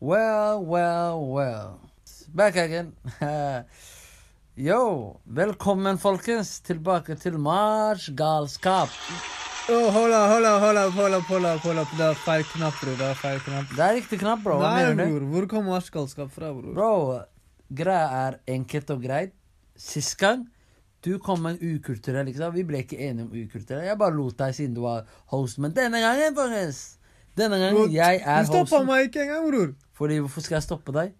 Well, well, well. Back again. Yo, velkommen folkens tilbake til Mars galskap. Oh, hold up, hold up, hold up, hold up, hold up, hold up. Det er feil knapp, bror. Det er feil knapp. Det er riktig knapp, bro. Hva Nei, mener du? bror. Hvor kom marskalskap fra, bror? Bro, greia er enkelt og greit. Sist gang du kom med en ukulturell, ikke sant? Vi ble ikke enige om ukulturell. Jeg bare lot deg siden du var host, men denne gangen, folkens Denne gangen jeg er Du stoppa hosten. meg ikke engang, bror. Fordi hvorfor skal jeg stoppe deg?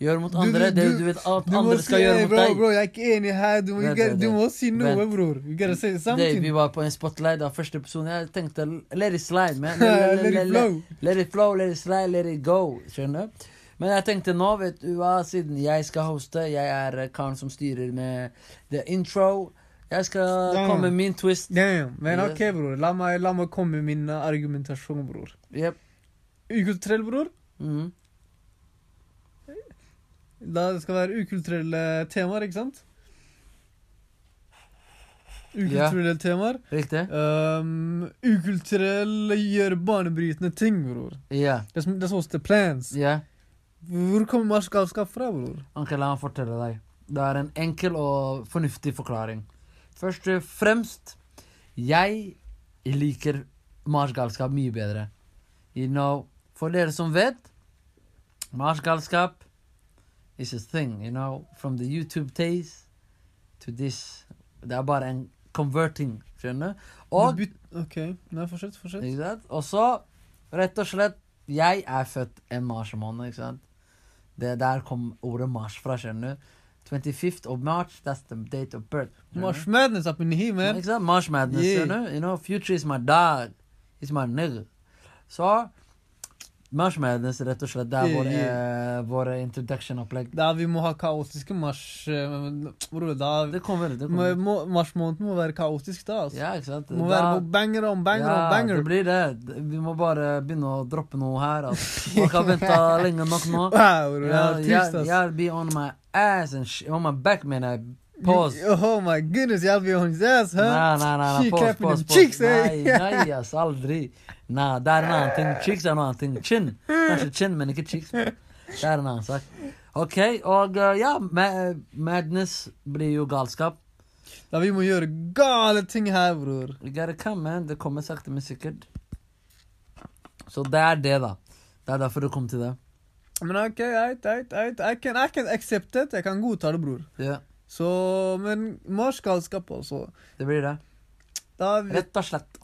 Gjør mot Du- andre du- det du- du vet alt du må andre skal si- gjøre Hey, mot bro, deg. Bro, jeg er ikke enig her. Du, må- you Vent, gotta- vent, du må vent. si noe, Vent. bror. You gotta say Det, something. vi var på en spotlight av første person. Jeg tenkte let it slide, man. Let it flow. let it flow, let it slide, let it go. Skjønner du? Men jeg tenkte nå, vet du hva, siden jeg skal hoste, jeg er eh, karen som styrer med the intro. Jeg skal Ja. komme med min twist. Damn. Men Yes. ok, bror. La meg, la meg komme med min eh, argumentasjon, bror. Yep. Ukulturell, bror. Mhm. Da det skal være ukulturelle temaer, ikke sant? Ukulturelle temaer. Riktig? Um, ukulturelle gjør banebrytende ting, bror. Ja. Det som, det som the plans. ja. Hvor kommer marskalskap fra, bror? Ok, la meg fortelle deg. Det er en enkel og fornuftig forklaring. Først og fremst, jeg liker marsgalskap mye bedre. You know, for dere som vet, marsgalskap is a thing, you know, from the YouTube days to this. Det er bare en converting, skjønner du? Og Du byt- OK. Nei, fortsett, fortsett. ikke sant? Og så, rett og slett, jeg er født en marsmåned, ikke sant? Det der kom ordet mars fra, skjønner du? 25th of March, that's the date of birth. skjønner du? Mars madness up in here, man. Ikke sant? Mars madness, Yeah. skjønner du? You know, future is my dog. It's my nigga. Så, Mars madness, rett og slett, det er Yeah, vår, yeah. eh, vår introduction-opplegg. Da vi må ha kaotiske mars... eh, Bror, da Det kommer, det må- kommer. må- Marsmåneden må være kaotisk, da. altså. Ja, ikke sant? Må Da- være banger om banger om banger. det blir det. Vi må bare begynne å droppe noe her. Altså. Folk har venta lenge nok nå. Wow, bror. Ja, Jeg er altså. trist, jeg, ass. jeg be on my ass and sh on my back, mener jeg. Pause. You- Oh my goodness, y'all be on his ass, huh? Nei, nei, nei, nei. She Pause, clapping pause, them pause. cheeks, Nei, hey. nei, ass, aldri. Nei, det er en annen ting. Cheeks er en annen ting. Chin. Kanskje chin, men ikke cheeks. Det er en annen sak. OK, og uh, ja, ma madness blir jo galskap. Da vi må gjøre gale ting her, bror. We gotta come, man. Det kommer sakte, men sikkert. Så det er det, da. Det er derfor du kom til det. Men ok, eit, eit, eit. I can, I can accept it. Jeg kan godta det, bror. Ja, Så, men marsgalskap, altså. det blir det. Da vet Rett og slett.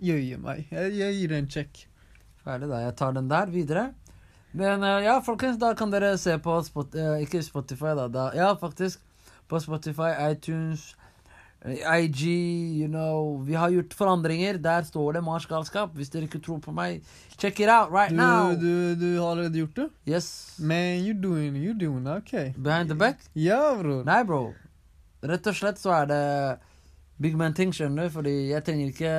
jøye meg. Jeg, jeg gir det en sjekk. Ferdig, da. Jeg tar den der videre. Men eh, ja, folkens, da kan dere se på Spot eh, Ikke Spotify, da. da. Ja, faktisk. På Spotify, iTunes, eh, IG, you know Vi har gjort forandringer. Der står det Mars galskap. Hvis dere ikke tror på meg, check it out right Du, now! du, du har allerede gjort det? Yes. Man, you're doing, you're doing, ok. Behind the back? Ja, bror. Nei, bro. Rett og slett så er det big man ting, skjønner du. Fordi jeg trenger ikke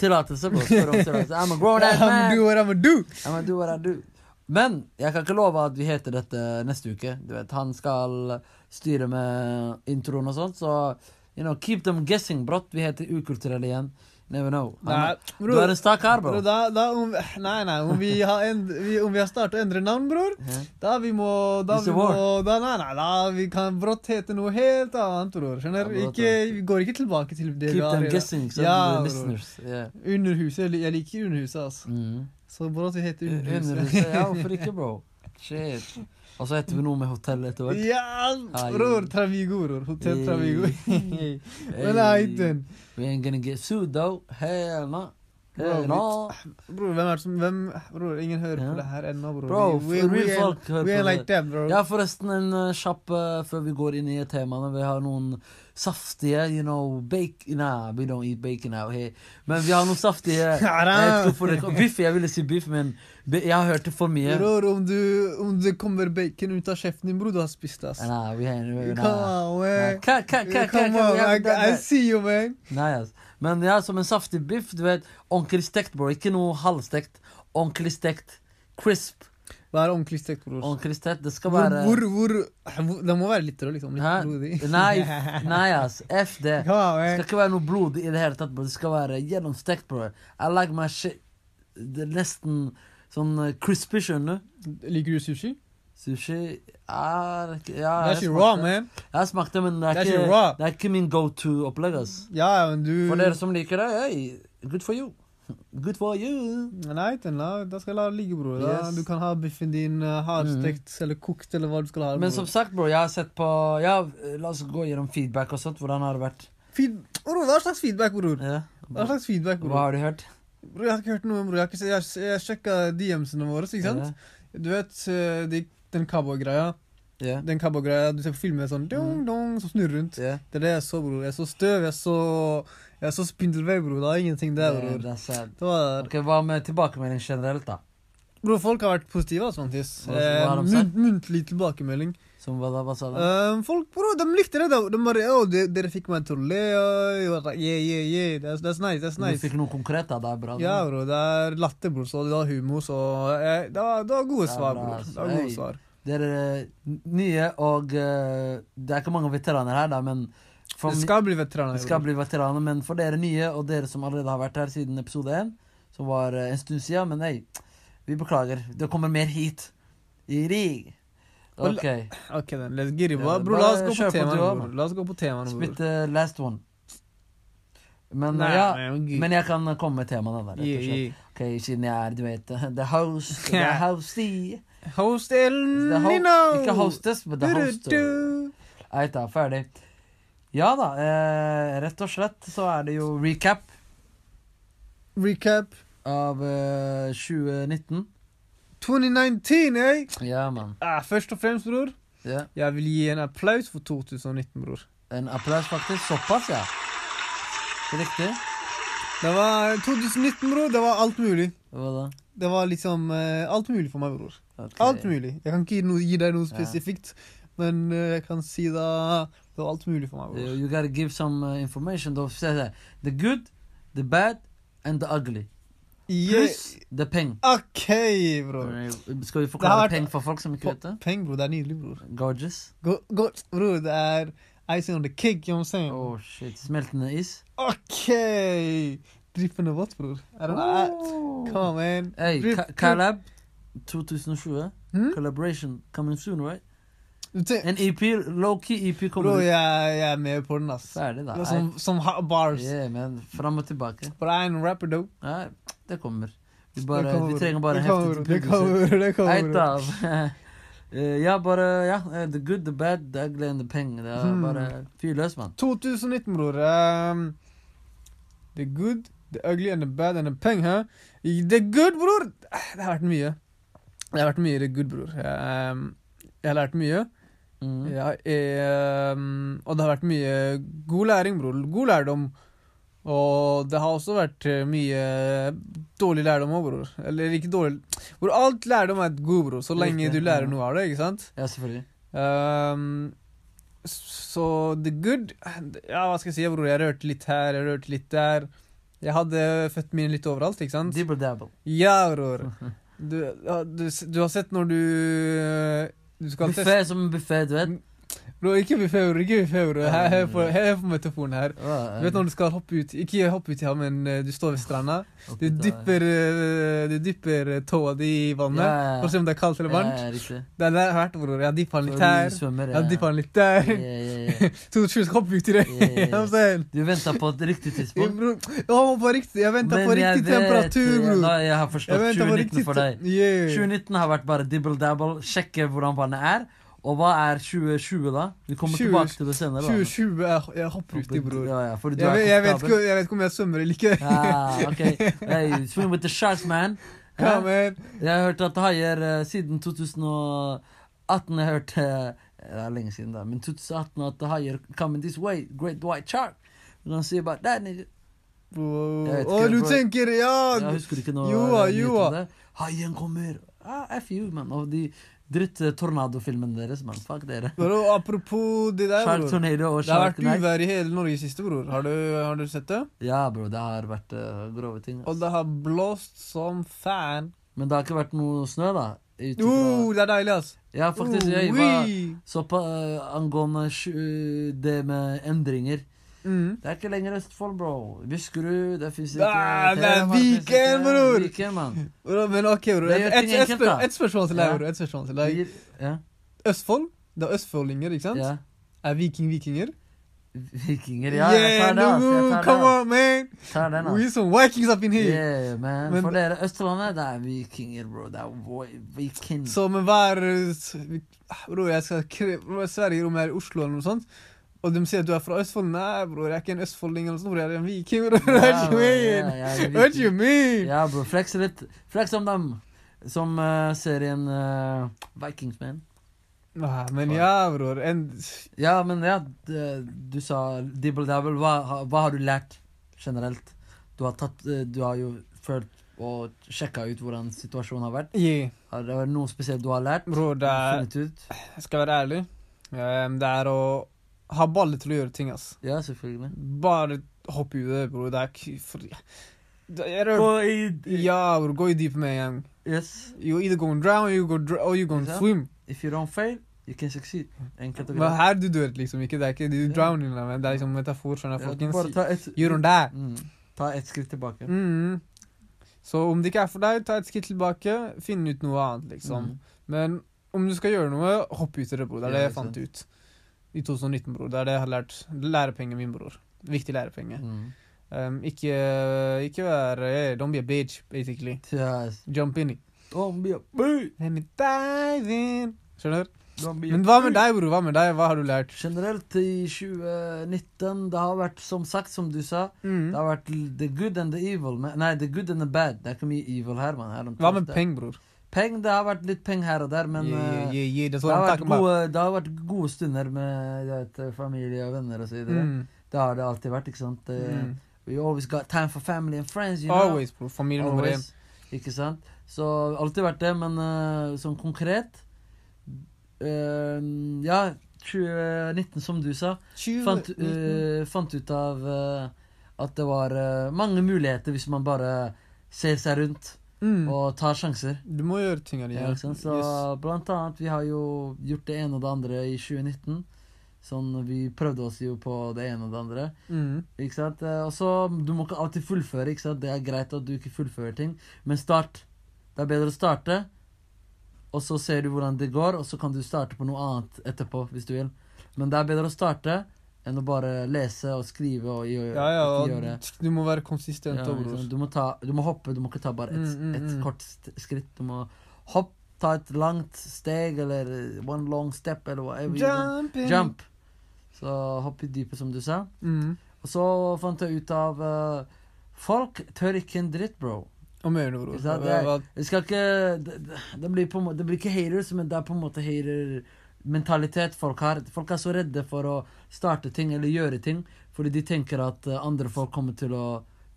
tillatelse. bro. Spør om tillatelse. I'm a grown ass I'ma man. do what I'ma do. Ja, men du, hva er du? Men jeg kan ikke love at vi heter dette neste uke. Du vet, Han skal styre med introen og sånt, så you know, keep them guessing, brått. Vi heter Ukulturelle igjen. Never know. Nei, Han, du er en stakkar, bro. Bror, Da, da, om, nei, nei, om vi har, end, vi, om vi har startet å endre navn, bror, Ja. da vi må, da It's vi a må war. da, Nei, nei, da vi kan brått hete noe helt annet, bror. Skjønner? Ja, brått, ikke, vi går ikke tilbake til det Keep vi har. them i dag. guessing, så Ja, the bror. listeners. Yeah. Underhuset. Jeg, lik- jeg liker Underhuset, altså. Mm. Så brått vi heter Underhuset. Ja, Underhuset. hvorfor ikke, bro? Shit. Og så heter vi noe med hotell etter hvert. ja, Ai. bror. Travigo, bror. Hotell Hey. Travigo. Men Hey, nei, den. We ain't gonna get sued, though. Hell no. Bro, Hell no. Bror, hvem er det som hvem, Bror, ingen hører Ja. på det her ennå, bror. Bro, we, for we, real ain't- folk hører we på det. ain't like that, bro. Jeg har forresten en eh, kjapp eh, før vi går inn i temaene. Vi har noen saftige you know, bacon Nei, we don't eat bacon out here. Men vi har noen saftige eh, Jeg vet ikke hvorfor det kom- Biff. Jeg ville si biff, men bi- jeg har hørt det for mye. Bror, om, du, om det kommer bacon ut av kjeften din, bror, du har spist det, ass. Nei, vi har nei. Come on, eh. Nei, man. ka- ka- ka- ka- Come on, vi har- I, I see you, man. Nei, ass. Men ja, som en saftig biff. Du vet, ordentlig stekt, bro. Ikke noe halvstekt. Ordentlig stekt. Crisp. Vær ordentlig stekt, bror. Ordentlig stekt. Det skal Hvor, være hvor, hvor hvor- Det må være litt rød, liksom. Litt Hæ? blodig. Nei, f- nei, ass. F det. Come on, Det skal man. ikke være noe blod i det hele tatt, bro. Det skal være gjennomstekt, bro. I like my shit Det er nesten Sånn eh, crispy, skjønner du. Liker du sushi? Sushi er ikke ja, Det er jeg ikke raw, smakte- man. Jeg smakte, men det er, Det er ikke ikke, raw. det er ikke min go to-opplegg. ass. Ja, men du For dere som liker det, hey, good for you. Good for you. Nei, den da, da skal jeg la det ligge, bror. Da, Yes. Mm. Du kan ha biffen din eh, hardstekt eller kokt eller hva du skal ha. Men bror. som sagt, bro, jeg har sett på Ja, la oss gå gjennom feedback og sånt. Hvordan har det vært? Feed... Bror, hva slags feedback, bror? Ja. Hva slags feedback, Hva bror? har du hørt? Bror, Jeg har ikke hørt noe, bror. Jeg, har ikke se- jeg, jeg sjekka DMs-ene våre, ikke sant? Du vet eh, de, den cowboygreia. Ja. Den cowboygreia du ser på filmer Mm. sånn dong, dong, som snurrer rundt. Ja. Det er det jeg så, bror. Jeg så støv, jeg så Jeg så spindelvev, bror. Det er ingenting der, Det- bror. det er sad. Det var Ok, Hva med tilbakemelding generelt, da? Bror, folk har vært positive, altså, Mantis. Hva- hva Eh, har de mun- Muntlig tilbakemelding. Som hva da? Hva sa du? Eh, folk, bro, de likte det. De, de bare «Å, de, 'Dere fikk meg til å le.' og jeg var sånn, Yeah, yeah, yeah. That's, that's nice. that's Du nice. fikk altså. noe konkret, da. Det er bra. da. Ja, bro. Det er latter, bror. Så det var humor, så eh, det, var, det var gode Det er svar, bra, bror. altså. Det var gode Hey. svar. Dere er nye, og eh, det er ikke mange veteraner her, da, men for, Det skal bli veteraner. det skal bror. bli veteraner, men for dere nye, og dere som allerede har vært her siden episode 1, som var eh, en stund siden, men nei, vi beklager. Det kommer mer hit. Iri. Vel- Ok, Ok, then. Let's get it. Ja, Bro, la oss bare gå kjør på på temaene, du også, bror. mann. La oss gå på temaene, bror. spytt eh, last one. Men Nei, ja, men gud. men jeg kan komme med temaene der, rett Yeah, og slett. yeah. Ok, siden jeg er, du vet, the host, the hostie. Host The El ho Nino! ikke hostess, men the host. Mm, Du-du-du. Eit da, ferdig. Ja da, eh, rett og slett så er det jo recap Recap av eh, 2019. 2019, eh? Ja, mann. Ah, først og fremst, bror, Ja. jeg vil gi en applaus for 2019, bror. En applaus, faktisk. Såpass, ja. Riktig. Det var 2019, bror. Det var alt mulig. Hva da? Det var liksom eh, alt mulig for meg, bror. Ok. Alt mulig. Jeg kan ikke gi, noe, gi deg noe Ja. spesifikt, men eh, jeg kan si da Det var alt mulig for meg, You, bror. you gotta give some uh, information. though. Se her. The good, the bad and the ugly. Pluss the peng. OK, bror. Skal vi Det har forklare vært- peng for folk som ikke vet det? Peng, bror. Det er nydelig, bror. Gorgeous. Go, go, bror, det er icing on the cake, you know what I'm saying? Oh shit. Smeltende is. OK! Dryppende vått, bror. Er det noe? Oh. Come on, man. Hey, Drip, Ka- drip. Calab 2020. Hmm? eh? Collaboration coming soon, right? Du tenk- En EP, low-key EP Bror, kommer ut. jeg, jeg er med på den, ass. Ferdig, da. Det er Som, som hot bars. Yeah, man. Fram og tilbake. But I ain't a rapper, though. Nei, det kommer. Vi, Det bare, kommer, vi trenger bare det en kommer, heftig Det tilbydelse. kommer, det Eit kommer. av. Eh, Ja, bare ja, eh, The good, the bad, the ugly and the peng. Det er Hmm. bare fyr løs, mann. 2019, bror. Um, the good, the ugly and the bad and the peng, hæ? The good, bror! Ah, Det har vært mye. Det har vært mye the good, bror. Um, jeg har lært mye. Mm. Jeg, er, um, og det har vært mye god læring, bror. God lærdom. Og det har også vært eh, mye dårlig lærdom òg, bror. Eller ikke dårlig Hvor alt lærdom er god, bror, så lenge Riktig, du ja. lærer noe av det, ikke sant? Ja, selvfølgelig. Ehm, s- så the good Ja, hva skal jeg si, bror? Jeg rørte litt her, jeg rørte litt der. Jeg hadde født mine litt overalt, ikke sant? Dibble dabble. Ja, bror. Du, ja, du, s- du har sett når du Du skal teste Buffé som en buffé, du Hmm. vet. Bro, Ikke buffé, bror. Ikke buffé, bror. Her her på, her på metaforen her. Ja, Du vet eh, når du skal hoppe ut Ikke hoppe ut i havet, men eh, du står ved stranda. Du oppi der. dypper, eh, du dypper tåa di i Ja, vannet. ja, ja. For å se om det er kaldt eller varmt. Ja, riktig. Det er der jeg har vært, bror. Jeg har dyppa den Før litt her. du svømmer. Jeg har dyppa den litt der. Ja, ja, ja. Så du skal hoppe ut i det. Ja, ja, ja. You know what I'm saying? Du venta på et riktig Jeg, tidspunkt. bro, jeg håper på riktig, jeg venter på Men jeg riktig vet- temperatur, ja, Nå, bror. jeg har Jeg forstått venter på 2019 riktig for deg. te- Yeah. 2019 har vært bare dibble-dabble, sjekke hvordan vannet er. Og hva er 2020, da? Vi kommer 20 tilbake til det senere. da. 2020, jeg, jeg hopper uti, bror. Ja, ja, fordi du Jeg, er vet- jeg, vet komfortabel. ikke, jeg vet ikke om jeg svømmer eller ikke. Ah, ok. Hey, swim with the sharks, man. Ja, Ja, men, jeg har hørt at haier eh, siden 2018 Jeg har hørt eh, Det er lenge siden, da. Men 2018 at haier coming this way. Great white shark. You gonna see about that, nigga. Bro. Jeg vet Å, ikke, du bro. tenker, ja. Jeg husker ikke noe Joa, eh, nytt om joa. det. Haien kommer. Ah, F you, man. Og de dritt eh, tornadofilmene deres, man. Fuck dere. Bro, apropos det der, Shark bror. tornado og Det har shark vært night. uvær i hele Norge siste, bror. Har du, har du sett det? Ja, bro, det har vært eh, grove ting. ass. Og det har blåst som fan. Men det har ikke vært noe snø, da? Ut ifra- Oh, det er deilig, ass. ja, faktisk. Jeg Oh, var oui. så på eh, angående sj- det med eh, endringer Mm. Det er ikke lenger Østfold, bro. Buskerud, det fins ikke. Ah, det er Telemark finnes ikke. Viken, bror! Viken, mann. Bro, Men ok, bror. Det Et, gjør et, ting et, enkelt, spør- da. et spørsmål til deg, Ja. bror. Et spørsmål til deg. Vi- Ja. Østfold, det er østfoldinger, ikke sant? ja. Er viking-vikinger? Vikinger, ja. Jeg tar det, no, ass. Jeg tar come det, ass. on, man! Tar den, ass. We some vikings up in here! Yeah, man. Men- For dere Østlandet, det er vikinger, bro. Det er voi- viking. Så men hva er Bror, jeg skal kre- bror, Sverige, om jeg er i Oslo eller noe sånt. Og de sier at du er fra Østfold. Nei, bror, jeg er ikke en østfolding eller noe sånt. bror, Jeg er en viking, bror. What Ja, you bro, mean? ja, jeg er What viking. you mean? Ja, bro. Flex litt. Flex om dem. Som eh, serien eh, Vikings, man. Ah, men ja, bror. En, Ja, men ja, d- du sa Dibble Dabble. Hva, ha- hva har du lært generelt? Du har, tatt, eh, du har jo følt og sjekka ut hvordan situasjonen har vært. yeah, Har det vært noe spesielt du har lært? bror, det er, Funnet ut? jeg skal være ærlig. Ehm, Det er å ha baller til å gjøre ting, ass. Ja, selvfølgelig. Bare hopp i det, bror. Det er ikke for, det er, Og i Ja, bror. Gå i dypet med en gang. Yes. You either gonna drown or you gonna, dr- or you Ja. gonna swim. If you don't fail, you can succeed. Enkelt og Men greit. her du dør liksom ikke, det er ikke du Ja. drowning, da, men det er liksom metafor, skjønner jeg, Ja, du bare folkens. ta et, You don't die. mm, ta et skritt tilbake. Mm. Så om det ikke er for deg, ta et skritt tilbake, finn ut noe annet, liksom. Mm. Men om du skal gjøre noe, hopp ut i det, bror. Det er Ja, det jeg ikke fant ut i 2019, bror. Det er det jeg har lært. Lærepenger, min bror. Viktig lærepenge. Mm. Um, ikke, ikke være eh, Don't be a bitch, basically. Yes. Jump in. it. Don't be a boo. Let me dive in. Skjønner? Don't be a Men hva med boo. deg, bror? Hva med deg? Hva har du lært? Generelt i 2019, det har vært som sagt, som du sa, Mm. det har vært l- the good and the evil. Men, nei, the good and the bad. Det er ikke mye evil her, mann. I don't Hva trust med that. penger, bror? Peng, det har vært litt peng her og der, men yeah, yeah, eh, yeah, yeah. That's Det what har, I'm vært talking about. gode, det har vært gode stunder med jeg vet, familie og venner og så videre. Mm, Det har det alltid vært, ikke sant? Eh, mm. We always got time for family and friends, you know? Always, bro. Familie nummer én. mm. Always. Ikke sant? Så alltid vært det, men eh, sånn konkret eh, Ja, 2019, som du sa, fant, eh, fant ut av eh, at det var eh, mange muligheter hvis man bare ser seg rundt eh, Mm. og tar sjanser. Du må gjøre tinga dine. Ja, ikke sant? Så Yes. blant annet, vi har jo gjort det ene og det andre i 2019. Sånn, vi prøvde oss jo på det ene og det andre. Mm. Ikke sant? Eh, Og så, du må ikke alltid fullføre, ikke sant? Det er greit at du ikke fullfører ting, men start. Det er bedre å starte, og så ser du hvordan det går, og så kan du starte på noe annet etterpå, hvis du vil. Men det er bedre å starte enn å bare lese og skrive og gjøre. Ja, ja, ikke og gjøre. du må være konsistent, Ja, da, ikke bror. sant? du, må ta, du må hoppe, du må ikke ta bare et, Mm, mm, et mm. kort st- skritt. Du må hopp, ta et langt steg, eller eh, one long step, eller whatever. you Jumping. do. Jump! Så hopp i dypet, som du sa. Mm. Og så fant jeg ut av eh, Folk tør ikke en dritt, bro. Om øynene, bror. Ikke sant? Det var- Jeg skal ikke det, det, det, blir på, en må- det blir ikke haters, men det er på en måte hatermentalitet folk har. Folk er så redde for å starte ting eller gjøre ting fordi de tenker at eh, andre folk kommer til å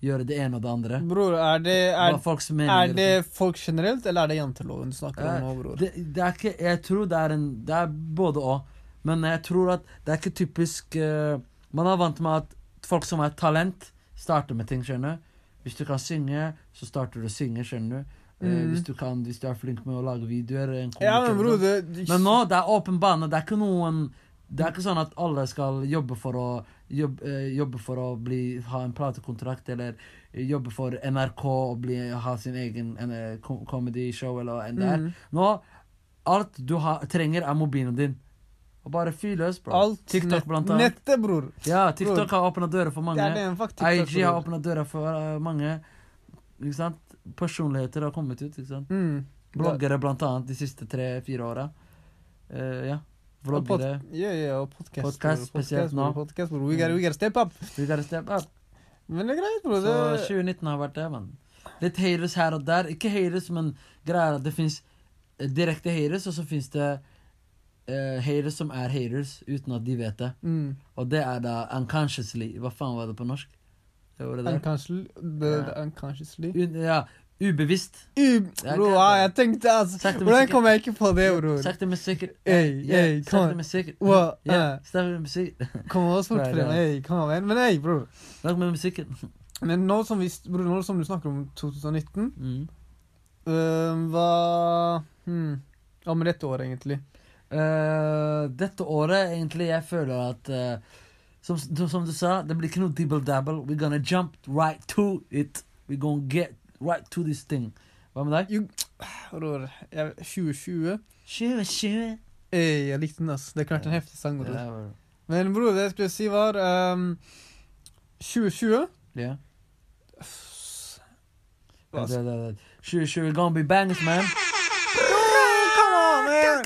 gjøre det ene og det andre. Bror, er det Hva er, er folks er meninger. det folk generelt, eller er det janteloven du snakker om nå, bror? det, det er ikke Jeg tror det er en Det er både og. Men jeg tror at det er ikke typisk eh, Man er vant med at folk som har talent, starter med ting, skjønner du. Hvis du kan synge, så starter du å synge, skjønner du. Eh, Mm. hvis, du kan, hvis du er flink med å lage videoer. En Ja, men komiker, bror, sånn. det men nå, det er åpen bane. Det er ikke noen Det er ikke sånn at alle skal jobbe for å Jobbe, eh, jobbe for å bli, ha en platekontrakt, eller jobbe for NRK og bli, ha sin egen eh, kom- comedy show, eller hva enn det er. Mm. Nå, alt du har- trenger er mobilen din. Og bare fyr løs, bro. Alt TikTok, blant annet. Nettet, bror. Ja, TikTok har åpna dører for Det er det mange. en fuck TikTok, IG har bror. åpna dører for eh, mange. Ikke sant? Personligheter har kommet ut. ikke sant? Mm. Bloggere, blant annet, de siste tre-fire åra. Eh, ja. Og pod- Vloggere. Ja, ja, og podcast. Podcast, bror. spesielt Podcast, bror. nå. Podcast, bror. We gotta, we gotta step up. We gotta step up. Men det er greit, bror. Så Det... 2019 har vært det, mann. Litt haters her og der. Ikke haters, men greier at det fins direkte haters, og så fins det eh, haters som er haters, uten at de vet det. Mm. Og det er da unconsciously Hva faen var det på norsk? Det var det der. Unconsciously. The, Ja. the unconsciously. Un ja, ubevisst. Ub, Ja, bro, greit, ah, da. jeg tenkte altså Sakte, men Hvordan sikkert. kom jeg ikke på det, bror? Sakte, men sikkert. Ey, Ja, ey, kom sakte, an. men sikkert. Wow, Ja, eh. sakte, men sikkert. Kom oss fort Nei, frem. det- Ey, kom an, men ey, bror. Nok med musikken. Men nå som, vi, bror, nå som du snakker om 2019, Mm. øh, hva hmm, Om dette året, egentlig. Eh, dette året, egentlig, jeg føler at eh, som, som du sa, det blir ikke noe dibble-dabble. We're gonna jump right to it. We're gonna get right to this thing. Hva med deg? Jo, bror, jeg, 2020 20, 20. Ey, jeg likte den, ass. Det er klart en heftig sang. bror. Ja, bror. Men bror, det jeg skulle si, var ehm, 2020 Ja. Hva Det- det- det- 2020 gonna be bangers, man. Come on, man!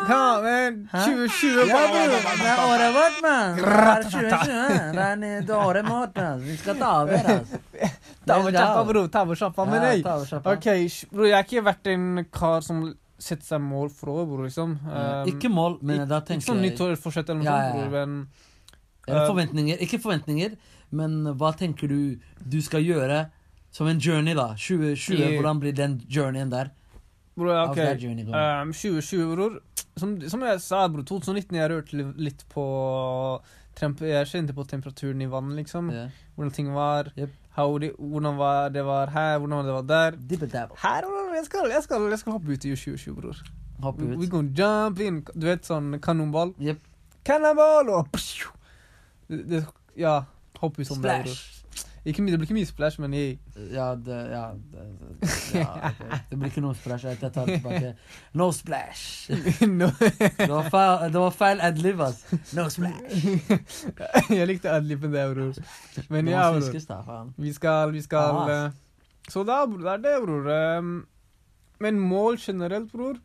Come on, man! Hæ? 2020 Ja, bror. Det er året vårt, mann. Det er 2020. Det er nye- det er året vårt, mann. Vi skal ta over, altså. Ta over kjappa, bror. Ta over kjappa. Men Ja, ey, ta over kjappa. ok, sj- bror, jeg har ikke vært en kar som setter seg mål for år, bror, liksom. Eh, Ehm, Ikke mål, men ikk- da ikke tenker sånn jeg nyttårsforsett eller noe Ja, sånt, ja, ja. bror, men Eller Eh, forventninger. Ikke forventninger, men hva tenker du du skal gjøre som en journey, da? 2020, I- hvordan blir den journeyen der? bror, ja, How's that ok. journey going? Ehm, 2020, bror. Som, som jeg sa, bror, 2019 jeg rørte li- litt på temp Jeg kjente på temperaturen i vannet, liksom. Ja. Hvordan ting var. Jep. How de, hvordan var det var her, hvordan det var der. Dibbedabble. Her, bror, jeg skal, jeg skal, jeg skal hoppe ut i 2020, bror. Hoppe We, we ut. gonna jump in. Du vet sånn kanonball? Jep. Kanonball og psju! det, det, Ja, hopp ut som det. bror. Splash. Ikke mye, det blir ikke mye splash, men jeg Ja, det, ja, det, det, ja ok. det blir ikke noe splash. Jeg tar det tilbake. No splash. no, Det var feil, det var feil adlib, altså. No splash. Jeg likte adlipen der, bror. Det Men må ja, bror. sviskes, da, faen. Vi skal, vi skal Ja. eh, Så da, bror, det er det, bror. Em, Men mål generelt, bror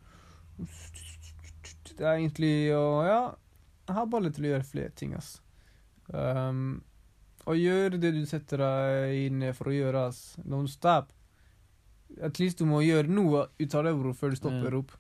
Det er egentlig å Ja, jeg har bare lyst til å gjøre flere ting, ass. Um, og gjør det du setter deg inn for å gjøre, ass. Non stop. At least du må gjøre noe ut av det, bror, før du stopper Ja. opp.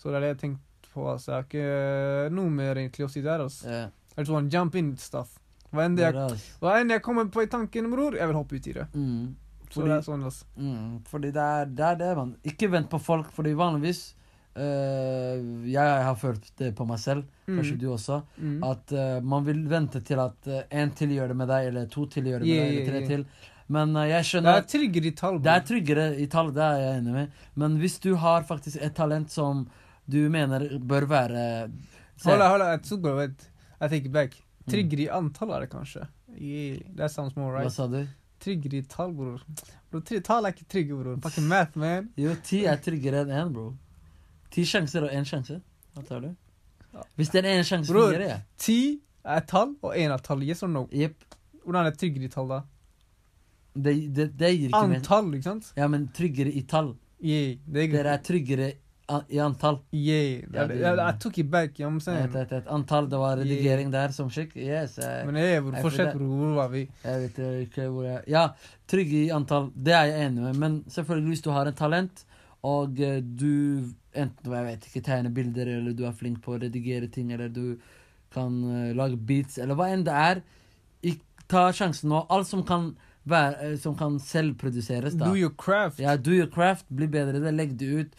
Så det er det jeg tenkte på, ass. Jeg har ikke eh, noe mer egentlig å si der, ass. Ja, I just want jump in stuff. Hva enn det det er jeg det, altså. hva enn jeg kommer på i tanken, bror, jeg vil hoppe ut i det. Mm. Så Fordi- det er sånn, altså. Mm, fordi det er det, er det man. Ikke vent på folk, fordi vanligvis eh, Jeg har følt det på meg selv, Mm. kanskje du også, Mm. at eh, man vil vente til at én til gjør det med deg, eller to til gjør det med Yeah, deg, eller tre yeah, til. Men eh, jeg Det skjønner er trigger i tall, det bror. er tryggere i tall, det er jeg enig med. Men hvis du har faktisk et talent som du mener bør være Se, Hold da, hold da, jeg tok bare, vent. I take it back. Mm. Trigger i antall er det kanskje. Yeah, that sounds more Hva right. sa du? Trigger i tall, bror. Bror, tri- tall er ikke trigger, bror. Fucking math, man. Jo, ti er tryggere enn én, bro. Ti sjanser og én sjanse. Hva tar du? Hvis det er én sjanse, Bror. fungerer jeg. Ti er tall, og én er tall. Yes or no? Jepp. Hvordan er trigger i tall, da? Det, det, det gir ikke mening. Antall, ikke sant? Ja, men tryggere i tall. Yeah, det er greit. Dere er tryggere a- i antall. Yeah, Ja, det- I, I, I took it back, you know what I'm Et, saying? et, et antall, det var redigering der som skikk. Yes, jeg, Men yeah, bror, Jeg fortsett, føler- bror. Hvor var vi? jeg vet ikke hvor jeg Ja, trygge i antall, det er jeg enig med. Men selvfølgelig, hvis du har et talent, og eh, du enten jeg vet ikke, tegner bilder, eller du er flink på å redigere ting, eller du kan eh, lage beats, eller hva enn det er, ikk- ta sjansen nå. Alt som kan, være, eh, som kan selvproduseres, da. Do your craft. Ja, do your craft, bli bedre i det, legg det ut.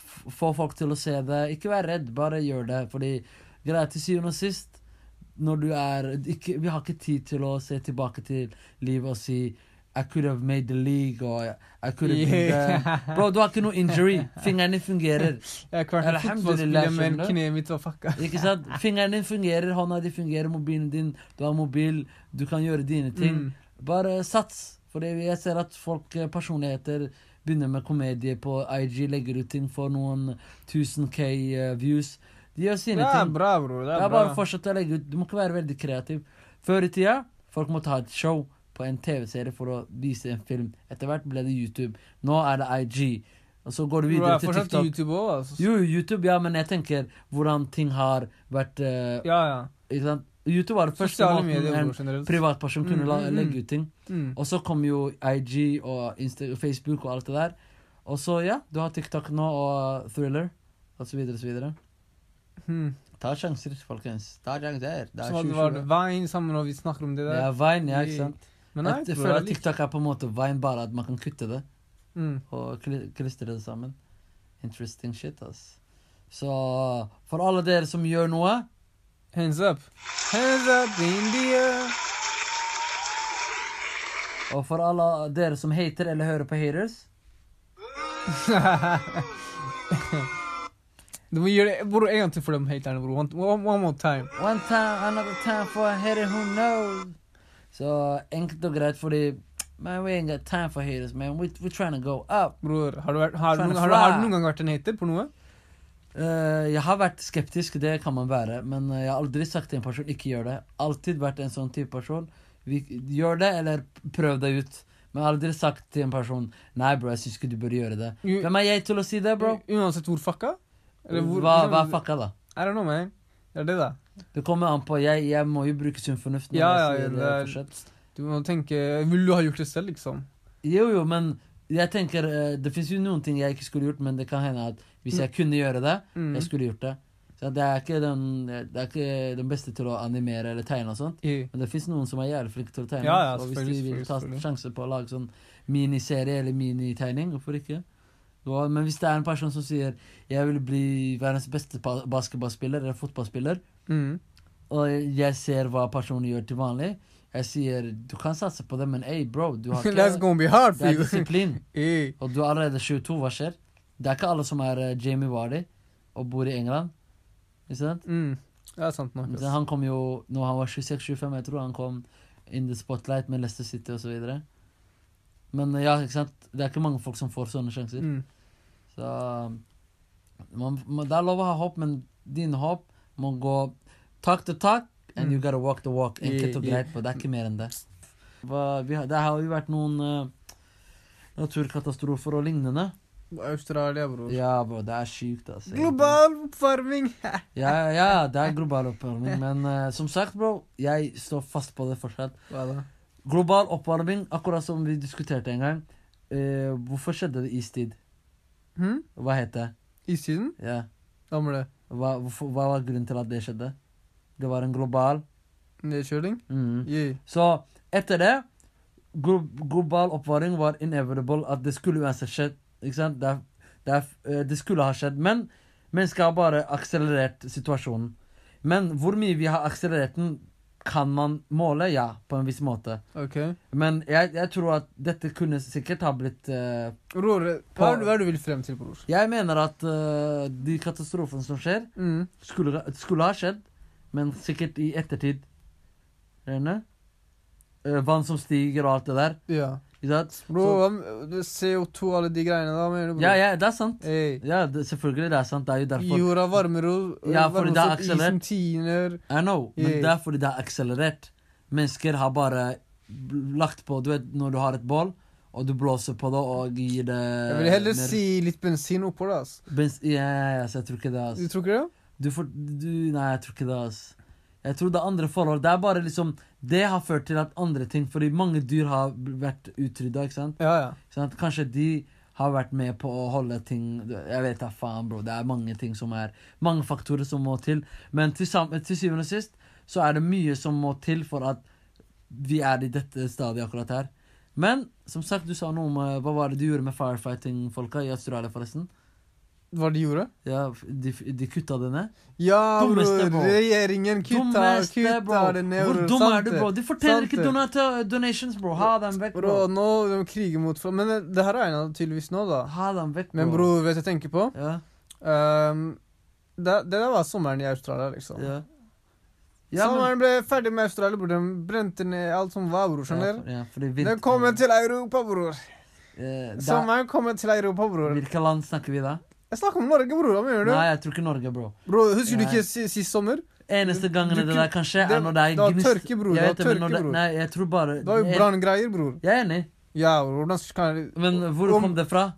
F få folk til å se det. Ikke vær redd, bare gjør det. Fordi greia til syvende og sist når du er ikke, Vi har ikke tid til å se tilbake til livet og si I could have made the league og I could have been there. Yeah. Bro, du har ikke noe injury. Fingeren din fungerer. Jeg har vært en Alhamdulillah, fotballspiller, men skjønner du? kneet mitt var fucka. Ikke sant? Fingeren din fungerer, hånda di fungerer, mobilen din Du har mobil, du kan gjøre dine ting. Mm. Bare sats. Fordi jeg ser at folk, eh, personligheter, begynner med komedie på IG, legger ut ting for noen 1000K eh, views. De gjør Det sine er ting. bra, bror. Det Det er er bare å bra. fortsette å legge ut. Du må ikke være veldig kreativ. Før i tida, folk måtte ha et show på en TV-serie for å vise en film. Etter hvert ble det YouTube. Nå er det IG. Og så går du Bro, videre jeg til fortsatt på TikTok. YouTube òg, altså. Jo, YouTube, ja, men jeg tenker hvordan ting har vært eh, Ja, ja. ikke sant? YouTube var det første Sosiale måten medier, en bror, generelt. privatperson kunne Mm, la, mm, mm. legge ut ting. Mm. Og så kom jo IG og Insta Facebook og alt det der. Og så, ja, du har TikTok nå og Thriller og så videre og så videre. Mm. Ta sjanser, folkens. Ta sjanser. Det Så er var det- var det 2020. Vine sammen, og vi snakker om det Det der. er Vine, ja, ikke sant? Men nei, At, jeg bror, føler jeg at liker TikTok er på en måte Vine, bare at man kan kutte det mm. og kli- klistre det sammen. Interesting shit, ass. Så for alle dere som gjør noe Hands up. Hands up in the air. Og for alle dere som hater eller hører på haters Det Du må gjøre det bror, en gang til for de haterne, bror. One, one, one more time. One time, another time for haters who knows. Så enkelt og greit, fordi Man, we ain't got time for haters, man. We, we're trying to go up. Bror, har du, vært, har, du, Trying to noen- har, du, har fly. du noen gang vært en hater på noe? Eh, jeg har vært skeptisk, det kan man være, men eh, jeg har aldri sagt til en person ikke gjør det. Alltid vært en sånn type person. Vi, gjør det, eller prøv det ut. Men jeg har aldri sagt til en person Nei, bro, jeg syns ikke du bør gjøre det. U Hvem er jeg til å si det, bro? u- uansett hvor fucka? Mm. Eller hvor- Hva, hva liksom- er fucka, da? I don't know, man. Det er det, da. Det kommer an på. Jeg, jeg må jo bruke sunn fornuft. når Ja, jeg ja, sier det det, er- fortsatt. Du må tenke Vil du ha gjort det selv, liksom? Jo, jo, men jeg tenker eh, Det fins jo noen ting jeg ikke skulle gjort, men det kan hende at hvis jeg kunne gjøre det, Mm. jeg skulle gjort det. Så det er ikke den, det er ikke den beste til å animere eller tegne og sånt. I- Men det fins noen som er jævlig flinke til å tegne. Ja, ja, så hvis de selvfølgelig, vil ta selvfølgelig. sjanse på å lage sånn miniserie eller minitegning, hvorfor ikke? Og, men hvis det er en person som sier 'jeg vil bli verdens beste pa- basketballspiller eller fotballspiller', Mm. og jeg ser hva personen gjør til vanlig, jeg sier 'du kan satse på det, men ey, bro, du har That's ikke gonna be hard for Det er you. Eh, disiplin. I- Og du er allerede 22, hva skjer? Det er ikke alle som er eh, Jamie Vardy og bor i England. Ikke sant? mm. Det er sant nok. Men ass. Han kom jo når han var 26-25, jeg tror han kom in the spotlight med Leicester City og så videre Men eh, ja, ikke sant? det er ikke mange folk som får sånne sjanser. Mm. Så man, man, Det er lov å ha håp, men din håp må gå talk to talk, and Mm. you gotta walk the walk. Enkelt og I- i- greit, på. det er ikke mer enn det. Hva, vi har, det har jo vært noen eh, naturkatastrofer og lignende. Australia, bror. Ja, bro, det er sykt, altså. Global oppvarming! Ja, ja, ja, det er global oppvarming, men eh, som sagt, bro, jeg står fast på det fortsatt. Hva da? Global oppvarming, akkurat som vi diskuterte en gang. eh, hvorfor skjedde det istid? Hm? Hva het det? Istiden? Ja. Da var det Hva, hvorfor, hva var grunnen til at det skjedde? Det var en global nedkjøling. mm. I- Så etter det glo Global oppvarming var inevitable, at det skulle uansett skjedd. Ikke sant? Det, er, det, er, eh, det skulle ha skjedd, men mennesker har bare akselerert situasjonen. Men hvor mye vi har akselerert den, kan man måle? Ja, på en viss måte. Ok. Men jeg, jeg tror at dette kunne sikkert ha blitt eh, Bror, hva er, det- hva er det du vil frem til, bror? Jeg mener at eh, de katastrofene som skjer, Mm. skulle, skulle ha skjedd, men sikkert i ettertid. Skjønner? Eh, vann som stiger og alt det der. Ja. Ikke sant? Bro, Så- hva med- det er CO2 alle de greiene da, mener du? bror? ja, ja, det er sant. Ey, Ja, det, selvfølgelig det er sant. Det er jo derfor jorda varmer og Ja, fordi det er varmer oss opp, Isen akselerert. tiner. I know, men Ja. det er fordi det er akselerert. Mennesker har bare bl- lagt på Du vet når du har et bål, og du blåser på det og gir det Jeg vil heller Eh, mer- si litt bensin oppå det, ass. Bens ja, ja, ja, så jeg tror ikke det, Du altså. tror ikke det? Du får du, Nei, jeg tror ikke det, altså. Jeg tror det er andre forhold. Det er bare liksom Det har ført til at andre ting Fordi mange dyr har bl- vært utrydda, ikke sant? Ja, ja. Sånn at kanskje de har vært med på å holde ting Jeg vet da faen, bro. Det er mange ting som er Mange faktorer som må til. Men til, sam- til syvende og sist så er det mye som må til for at vi er i dette stadiet akkurat her. Men som sagt, du sa noe om eh, Hva var det du gjorde med firefighting-folka i Australia, forresten? Hva de gjorde? Ja, f- de, f- de kutta det ned? Ja, Dummeste, bror. bro. Regjeringen kutta, Dummeste, kutta det ned. Hvor bror. dum Sant er du, det. bro? De forteller Sant ikke det. donata- donations, bro. Ha dem vekk, bro. Bro, nå de kriger mot Men det, det her regna tydeligvis nå, da. Ha dem vekk, bro. Men bror, vet du hva jeg tenker på? Ja, Ehm, det, det der var sommeren i Australia, liksom. ja. Ja, men- Sommeren ble ferdig med Australia, bror. De brente ned alt som var, bror. Skjønner? Ja, for, ja, fordi Den kommer til Europa, bror. eh, da, Sommeren kommer til Europa, bror. Hvilke land snakker vi da? Jeg snakker om Norge, bror. Hva mener du? Nei, jeg tror ikke Norge, bro. Bro, husker du Nei. ikke si- sist sommer? Eneste gangen Du det kunne- der kan skje, er det- når det er det var gnist. tørke, bror, Jeg det var vet men når tørke, bror. Nei, jeg tror bare Det var jo Jeg- branngreier, bror. Jeg er enig, Ja, bror. Hvordan skal jeg men hvor Om- kom det fra?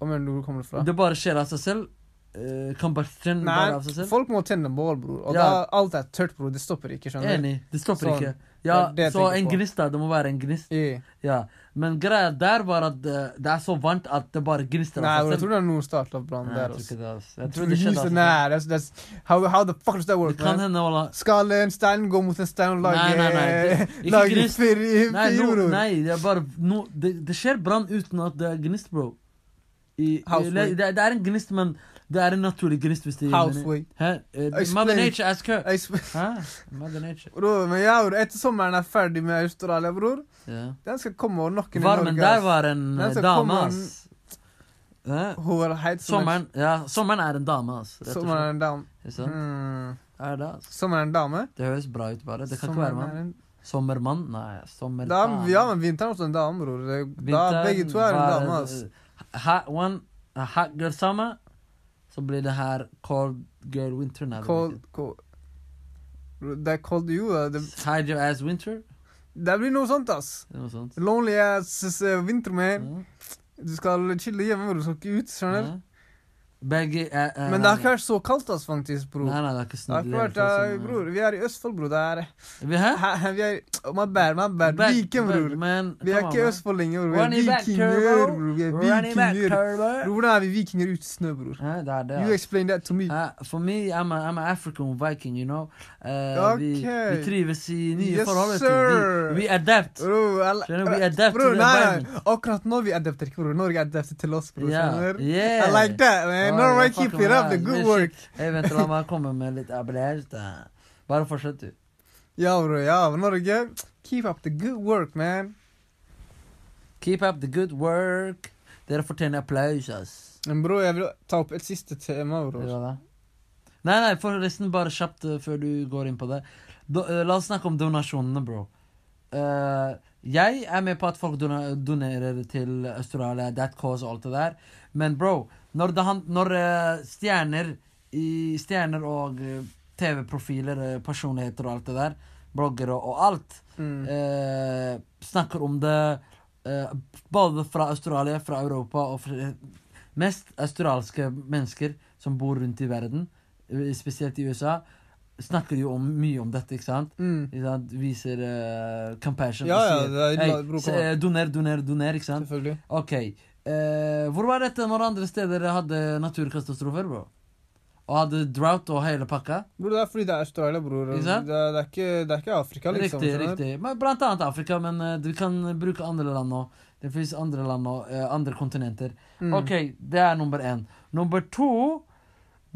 Hva mener du? Hvor kommer det fra? Det bare skjer av seg selv. Uh, combustion bare av seg Nei, selv. folk må tenne bål, bror. Og Ja. da alt er tørt, bror. Det stopper ikke, skjønner du? Enig. Det stopper Sånn. ikke. Ja, Det er det jeg så tenker en på. gnist, da. Det må være en gnist. Yeah. Ja. Men greia der var at eh, det er så varmt at det bare gnister Nei, av seg bror, jeg selv. tror det er noen startlavbrann Nei, jeg der. tror Altså. ikke det. ass. Jeg Jeg tror det skjedde. av seg selv. Nei, that's, that's, how, how the fuck does that Det work, kan man? hende, Ola. Skal en stein gå mot en stein og Nei, lage nei, nei, det- ikke Lage grist. fyr, Nei, fyr, no, bror? nei, det er bare no, det, det skjer brann uten at det er gnist, bro. I, i, Houseway. le- det, det er en gnist, men det er en naturlig gnist. hvis det Houseway. Hæ? Eh, Mother Explain. Nature, ask her. Jeg sp- Hæ? Mother Nature. Bror, men ja, bror, etter sommeren er ferdig med Australia, bror. Ja. Den skal komme og knocke ned Varmen Norge. der ass. var en Den eh, som dame, kommer- ass. Hæ? Hun var heit som en- Sommeren, ja, sommeren er en dame, altså. Rett og Sommeren er slett. en dame. Ikke sant? Mm. Er det, altså. Sommeren er en dame. det høres bra ut, bare. Det kan ikke Sommeren være er mann. en Sommermann? Nei, Da, sommermann. ja, men vinteren er også en dame, bror. Det- Da begge to er en dame, altså. ass. Hot one, a hot girl summer, så blir det her cold girl winter. Nei, det blir Cold, cold. Bror, Det er cold you, da. Det, ikke. Hide your ass winter? det blir noe sånt, ass. eller Noe sånt. Lonely ass eh, vinter, man. Mm. Du skal chille hjemme, bror. Du skal ikke ut, skjønner du. Ja. Begge eh, eh, Men det har ikke vært så kaldt, ass, faktisk, bror. Nei, nei, det har ikke Det har snudd. i ikke det hele vært, tatt, eh, sånn, bror. Vi er i Østfold, bror. Det er eh. Vi, hæ? Hæ, Vi er oh, My bad, my bad. Back- Viken, back, bror. man. Vi er Come on, ikke i man. Østfold lenger, bror. Vi Running er back, vikinger, turbo. bror. Vi er Running back, vikinger. Bror, turbo. Hvordan er vi vikinger uten snø, bror? Hæ, det er det. You altså. explain that to me. Uh, for me, I'm a, I'm an African Viking, you know. Eh, vi, Okay. vi trives i nye Yes, forhold. vet du. sir. Vi, vi adapt. Bror, alle- Skjønner, vi adapt to Bror, the nei, environment. nei. Akkurat nå vi adapter ikke, bror. Norge adapter til oss, bror. Yeah. Skjønner? Yeah. I like that, Ja, man. Norway jeg keep fucker it up, med the deg. good Det er work. sykt. Jeg vet, la meg komme med litt applaus. da. Bare fortsett, du. Ja, bror. Ja, men Norge, keep up the good work, man. Keep up the good work. Dere fortjener applaus, ass. Men bror, jeg vil ta opp et siste tema, Hva bror. da? Nei, nei, forresten, bare kjapt eh, før du går inn på det. Do, eh, la oss snakke om donasjonene, bro. Eh, jeg er med på at folk dona- donerer til Australia, that cause og alt det der. Men bro, når, det han, når eh, stjerner, i, stjerner og eh, TV-profiler, eh, personligheter og alt det der, bloggere og alt, Mm. eh, snakker om det eh, både fra Australia, fra Europa og fra, mest australske mennesker som bor rundt i verden, eh, spesielt i USA, snakker jo om, mye om dette, ikke sant? Mm. Ikke sant? Viser eh, compassion Ja, ja, og sier det er «Hey, bror, se, kom an. eh, doner, doner, doner, ikke sant? Selvfølgelig. Ok, eh, hvor var dette når andre steder hadde naturkatastrofer, bro? Og hadde drought og hele pakka? Bror, det er fordi det er Australia, bror. Ikke Det, sant? det, er ikke, det er ikke Afrika, liksom. riktig, skjønner du? riktig. Men blant annet Afrika, men eh, du kan bruke andre land nå. Det fins andre land og andre kontinenter. Mm. Ok, det er nummer én. Nummer to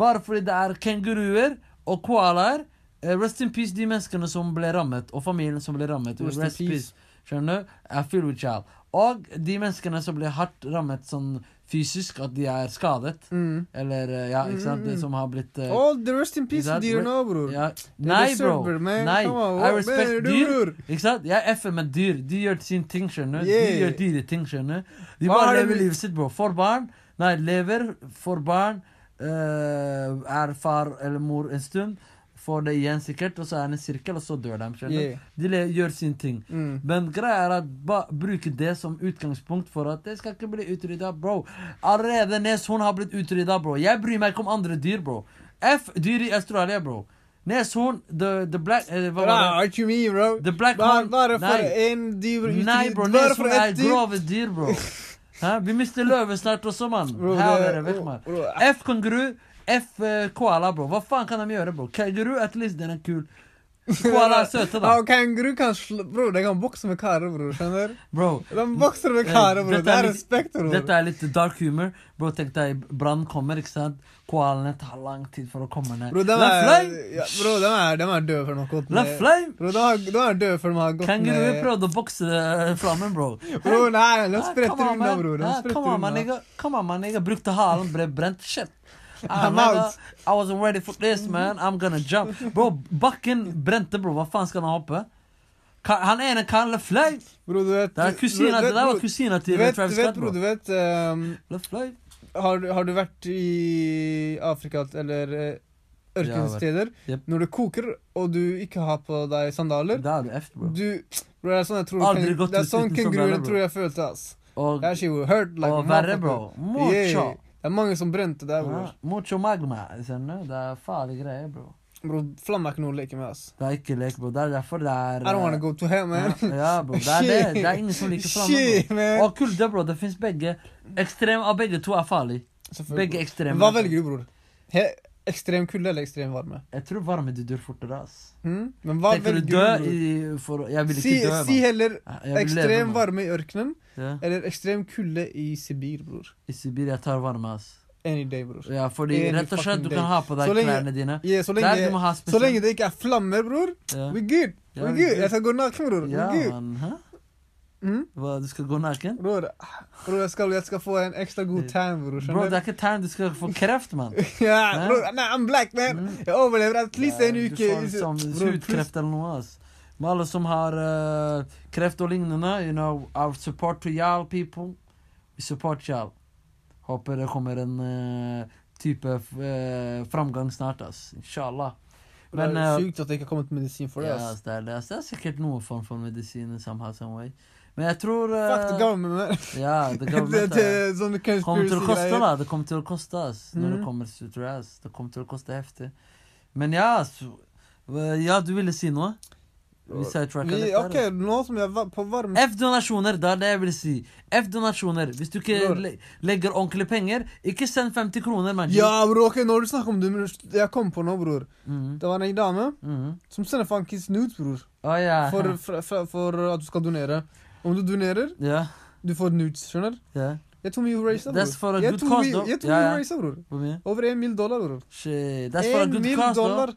Bare fordi det er kenguruer og koalaer eh, Rest in peace de menneskene som ble rammet, og familien som ble rammet. Rest Rest, in in peace. Skjønner du? I feel with y'all. Og de menneskene som ble hardt rammet sånn fysisk, at de er skadet. Mm. Eller eh, ja, ikke sant? Mm, mm, De mm. som har blitt eh, All the rest in Is peace, that dear re- now, bror. ja. They Nei, deserve bro. it, man. Nei. Come on, I what respect better do, dyr. bror? Ikke sant? Jeg er FN med dyr. De gjør sin ting, skjønner du. Yeah. De gjør dyre ting, skjønner du. De Hva har bare det lever med- livet sitt, bro. For barn. Nei, lever for barn. eh, er far eller mor en stund. Får det igjen, sikkert. Og så er det en sirkel, og så dør de. skjønner du. Yeah. De le gjør sin ting. Mm. Men greia er at ba, bruke det som utgangspunkt for at det skal ikke bli utrydda, bro. Allerede neshorn har blitt utrydda, bro. Jeg bryr meg ikke om andre dyr, bro. F dyr i Australia, bro. Neshorn, the, the black eh, Hva Bra, var det? Ah, what you mean, bro? The black Bare, horn bare for Nei, en dyr Nei bro. Bare for Neshorn er ett dyr. grove dyr, bro. Hæ? Vi mister løve snart også, mann. Bro, Her det- er det vekk, mann. bro, bro, F kanguru, F eh, koala, bro. Hva faen kan de gjøre, bro? Kanguru, at least den er kul. Koala er søte, da. Ja, kenguru kan slå Bror, de kan bokse med karer, bror. Skjønner? Bro, De bokser med karer, bror. Eh, Dette Det er er litt- respekt, bror. Dette er litt dark humor. Bro, tenk deg, brann kommer, ikke sant? Koalene tar lang tid for å komme ned. Bro, de La er, flame! ja, bro, de er, de er døde før de har gått La flame! Bro, de har- de er døde før de har gått Kanguruer ned. prøvde å bokse eh, flammen, bro. Bro, nei, de Ah, spretter come on, unna, man. bror. De Ah, spretter Come on, man, unna. nigga. Come on, man, nigga. Brukte halen, ble brent. Shit. Ah, I'm nigga, out. I wasn't ready for this, man. I'm gonna jump. Bro, bakken brente, bro. Hva faen skal han hoppe? Ka- Han ene kan la flame! Bro, du vet Det er kusina, bror, det der var bror, kusina Du til vet, du Travis vet, Scott, bror, bro. du vet ehm, La flame. har, du- har du vært i Afrika eller eh, ørkensteder? Ja, vel. Jep. Når det koker, og du ikke har på deg sandaler Da er du F, bro. Du Bro, det er sånn jeg tror Aldri gått Det er ut sånn uten kenguruen sandaler, bro. tror jeg følte, ass. Og Jeg er ikke hurt like Og a verre, motherfucker. bro. Ah. Mucho. Yeah. Det er mange som brente der, Ja, bror. Mucho magma. skjønner du? Det er farlige greier, bro. Bro, Flamme er ikke noe å leke med, ass. Det er ikke lek, bro. Det er derfor det er I don't wanna eh, go to hell, man. Ja, ja, bro. Det er det. Det er ingen som liker flamme. Shit, Bro. man. Og kulde, bro. Det fins begge. Ekstrem av begge to er farlig. Selvfølgelig, Begge bror. ekstreme. Hva velger du, bror? He ekstrem kulde eller ekstrem varme? Jeg tror varme du dør fortere, ass. Hm? Men hva Tenker velger du du, dø bror? i for, Jeg vil ikke Si, dø, si mann. heller Jeg vil leve, ekstrem mann. varme i ørkenen Ja. eller ekstrem kulde i Sibir, bror. I Sibir jeg tar varme, ass. Any day, bror. Ja, fordi Any rett og slett fucking du day. kan ha på deg Så lenge- klærne dine. Yeah, så, Der du lenge, må ha så lenge spesielt. det ikke er flammer, bror, Ja, we good. Ja, we vi good. good. Jeg skal gå naken, bror. ja we good. mann. Hæ? Mm? Hva, du skal gå naken? Bror, bror jeg, skal, jeg skal få en ekstra god tan, bror. Bro, Skjønner det du? er ikke tegn. Du skal få kreft, mann. Ja, bror, nei, I'm black, man. Mm. Jeg overlever at least en Du uke. får liksom Bror, please. hudkreft eller noe. ass. Med alle som har eh, kreft og lignende, you know, our support to y'all people. We support y'all. Håper det kommer en eh, type eh, framgang snart, ass. Inshallah. Bror, det eh, er Sjukt at det ikke har kommet medisin for det. ja, ass. ass, det, er, det, ass. det er sikkert noen form for medisin somehow, some way. Men jeg tror eh, Fuck the government, man. Ja, the det, government det eh, er sånne kommer til å koste, conspiracy-greier. da. Det kommer til å koste, ass. Når det Mhm. kommer til tror jeg, ass. Det kommer til å koste heftig. Men ja, ass. Eh, Ja, du ville si noe? Vi sidetracka Vi- litt Ok, der. nå som jeg var på varm F-donasjoner, det er det jeg vil si. F-donasjoner. Hvis du ikke Bror. le legger ordentlige penger, ikke send 50 kroner, mann. Ja, bror, ok, når du snakker om det men Jeg kom på nå, bror. Mhm, Det var en dame mhm. som sender fankis nudes, bror. Å ja. For, for, for, for at du skal donere. Om du donerer, ja. du får nudes, skjønner du? Ja. Jeg tror vi raisa, bror. That's for a jeg good tror cause, vi, though. jeg tror Ja, vi ja. raisa, bror. Hvor mye? Over en mill dollar, bror. Shit. That's for a En good mill cause, da. dollar.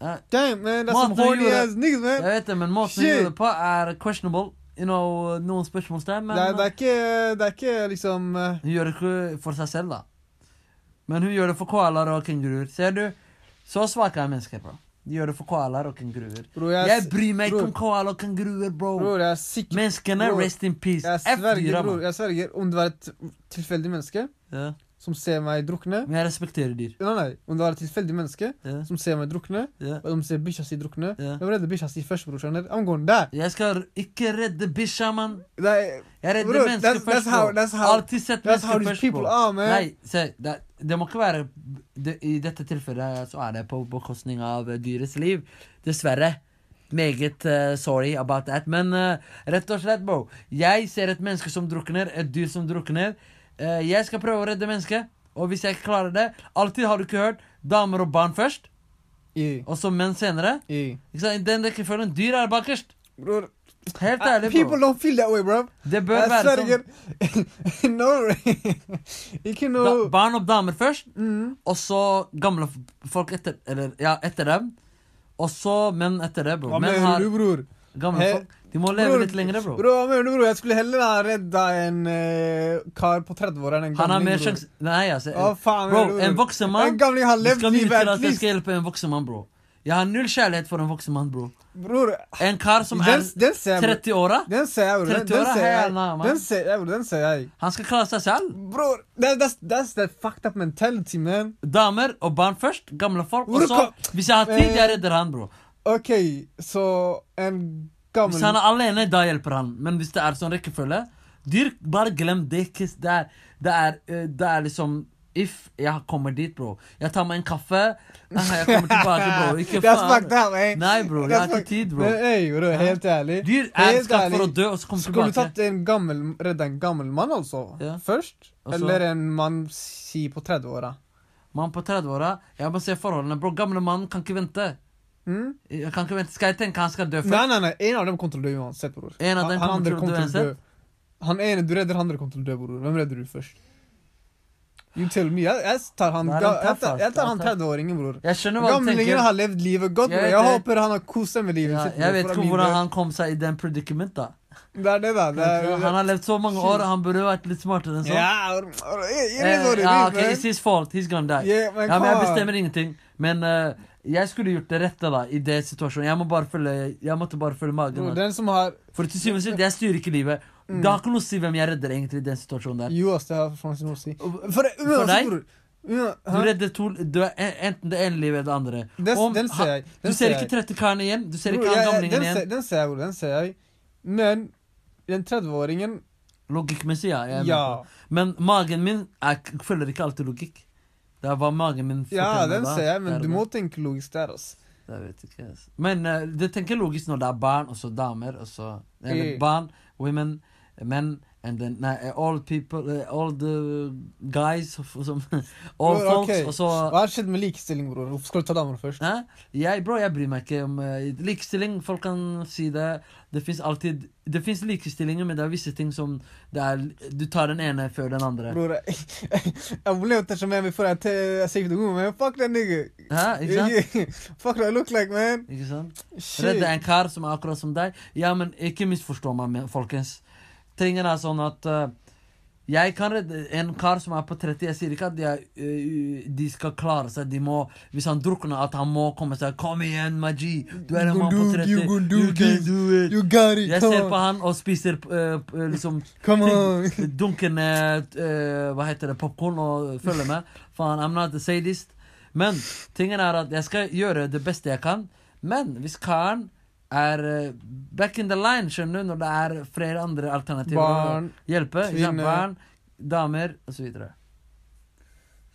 Ja. Damn, man, that's Måten some du horny gjorde- ass niggas, Jeg man. vet det, men måten du Shit. gjør det på, er questionable. You know, noen spørsmålstegn, men Det er, det, er ikke, det er ikke liksom eh, Hun gjør det ikke for seg selv, da. Men hun gjør det for koalaer og kenguruer. Ser du? Så svake er mennesker, bro. De gjør det for koalaer og kenguruer. Bror, jeg, Jeg bryr meg ikke bror. om koalaer og kenguruer, bro. bror, jeg er sikker Menneskene, bror. rest in peace. Jeg F-dyra, sverger, bror. mann. Jeg sverger. Om det var et tilfeldig menneske Ja. som ser meg drukne Men jeg respekterer dyr. Nei, nei. Om det var et tilfeldig menneske Ja. som ser meg drukne, Ja. og de ser bikkja si drukne Ja. Jeg må redde bikkja si først, bror. Skjønner? I'm going der. Jeg skal ikke redde bikkja, mann. Det er, Jeg redder Bro, mennesker that's- that's først, how- bro. that's how- Alltid sett that's how mennesker these først, bro. people are, man. Nei, se, det, det må ikke være det, I dette tilfellet eh, så er det på bekostning av eh, dyrets liv. Dessverre. Meget eh, sorry about that. Men eh, rett og slett, bro. Jeg ser et menneske som drukner, et dyr som drukner. Eh, jeg skal prøve å redde mennesket, og hvis jeg ikke klarer det Alltid har du ikke hørt damer og barn først, I, og så menn senere. i. Ikke sant? I Den rekkefølgen. Dyr er bakerst. Bror, Helt eh, ærlig, people Ah, bro. don't feel that way, bro. Det bør Jeg være sånn. sverger. no. ikke Da, noe barn og damer først. mm. Og så gamle f- folk etter, eller, ja, etter dem. Og så menn etter det, bro. Hva Menn mener har du, bror? gamle He- folk. De må leve Bror, litt lengre, bro. Bro, hva mener du, bror? Jeg skulle heller ha redda en eh, kar på 30-åra enn en Han har gamling, mer bror. sjanse Nei, altså. Hva faen Bro, mener du, en bror? voksen En mann Du gamling har levd skal nyte livet til at at jeg least. skal hjelpe en voksen mann, bro. Jeg har null kjærlighet for en voksen mann, bro. Bror, En kar som er den, den ser jeg, bror. 30-åra, Den ser jeg, bror. 30 Den, år den er ser jeg. helt nær, mann. Den ser jeg, bror. Den ser jeg. han skal klare seg selv. Bror, that, that's, that's that fucked up mentality, man. Damer og barn først. Gamle folk. Og Hvor så, kom- hvis jeg har tid, jeg Eh, redder han, bro. Ok, så en gammel Hvis han er alene, da hjelper han. Men hvis det er sånn rekkefølge Dyr, bare glem det. ikke- Det er, det er, eh, det er liksom If jeg kommer dit, bro. Jeg tar meg en kaffe. Ah, Jeg kommer tilbake, bro. Ikke That's fucked faen. up, man. Nei, bro. Jeg That's har ikke fucked- tid, bro. Men, ey, bro, helt ærlig. Dyr er Helt skapt for ærlig. å dø, og så komme Skulle du tilbake. tatt en gammel, redda en gammel mann, altså? Ja. Først? Og så- Eller en mann si på 30-åra? Mann på 30-åra, jeg må se forholdene. Bro, gamle mannen kan ikke vente. Mm? Jeg kan ikke vente. Skal jeg tenke han skal dø først? Nei, nei, nei. En av dem kommer til å dø uansett, bror. En av dem Han- han kommer andre til å dø uansett? Han ene du redder, han andre kommer til å dø, bror. Hvem redder du først? You tell me. Jeg, jeg tar han, Det er ga, en jeg tøff, ass. tar, jeg Det er tar han tøff. 30-åringen, bror. Jeg skjønner hva du Gamlingen tenker. har levd livet godt, Jeg bror. vet Jeg det. håper han har kost seg med livet Ja, sitt. bror, jeg vet for ikke min hvordan del. han kom seg i den predicament, da. Det er det, da. Det er, Han har levd så mange år, han burde vært litt smartere enn sånn. Ja, bror, bror, it- it is Eh, what it ja, is, ok, man. it's his fault. He's gone die. Yeah, man, Ja, men jeg come on. bestemmer ingenting. Men eh, jeg skulle gjort det rette da, i det situasjonen. Jeg, må bare følge, jeg måtte bare følge magen. Bror, da. Den som har For til syvende og sist, jeg styrer ikke livet. Mm. Det har ikke noe å si hvem jeg redder egentlig i den situasjonen der. Jo, ass, det har faen ikke noe å si. Og- For, for deg? uansett, bror. Ua- Du hæ? redder to, du er en- enten det ene livet eller det andre. Den- Om- Den ser ha- jeg. Du Den ser jeg. ikke 30-karen igjen. Du ser Bror, ikke han jeg- gamlingen den ser- igjen. Den ser jeg, bror. Den ser jeg. Men den 30-åringen Logikkmessig, ja. Jeg er med Ja. på. Men magen min er, k- følger ikke alltid logikk. Det er hva magen min ja, forteller den da. ser jeg, Det men er du det. må tenke logisk der, altså. ass. Jeg vet ikke. ass. Men eh, det tenker logisk når det er barn, og så damer, og så Eller Mm. barn, women, menn. And then, nei, eh, all people, eh, all the guys f- som, All Bro, folks, ok. og så Hva har skjedd med likestilling, bror? Hvorfor skal du ta damer først? Hæ? Jeg, bro, jeg bryr meg ikke om eh, likestilling. Folk kan si det. Det fins alltid Det fins likestillinger, men det er visse ting som det er, Du tar den ene før den andre. Bror, jeg, jeg ble jo tatt med for at jeg er sikkert god, men fuck that nigga. Hæ? Ikke sant? fuck what I look like, man. Ikke sant? Shit. Redd en kar som er akkurat som deg. Ja, men ikke misforstå meg, men- folkens. Tingen er sånn at eh, jeg kan redde en kar som er på 30. Jeg sier ikke at de, er, eh, de skal klare seg. De må, hvis han drukner, at han må komme seg. Kom igjen, Maji! Du er en You mann på gonna do- 30. you gonna do can this. do it. You got it, Jeg come ser on. på han og spiser eh, p- eh, liksom Come on. ting- dunkende eh, Hva heter det? Popkorn og følger med. Faen, I'm not a sadist. Men tingen er at jeg skal gjøre det beste jeg kan. Men hvis karen er eh, back in the line, skjønner du, når det er flere andre alternativer Barn, å hjelpe, ikke sant? kvinner. barn, damer osv. Så, videre.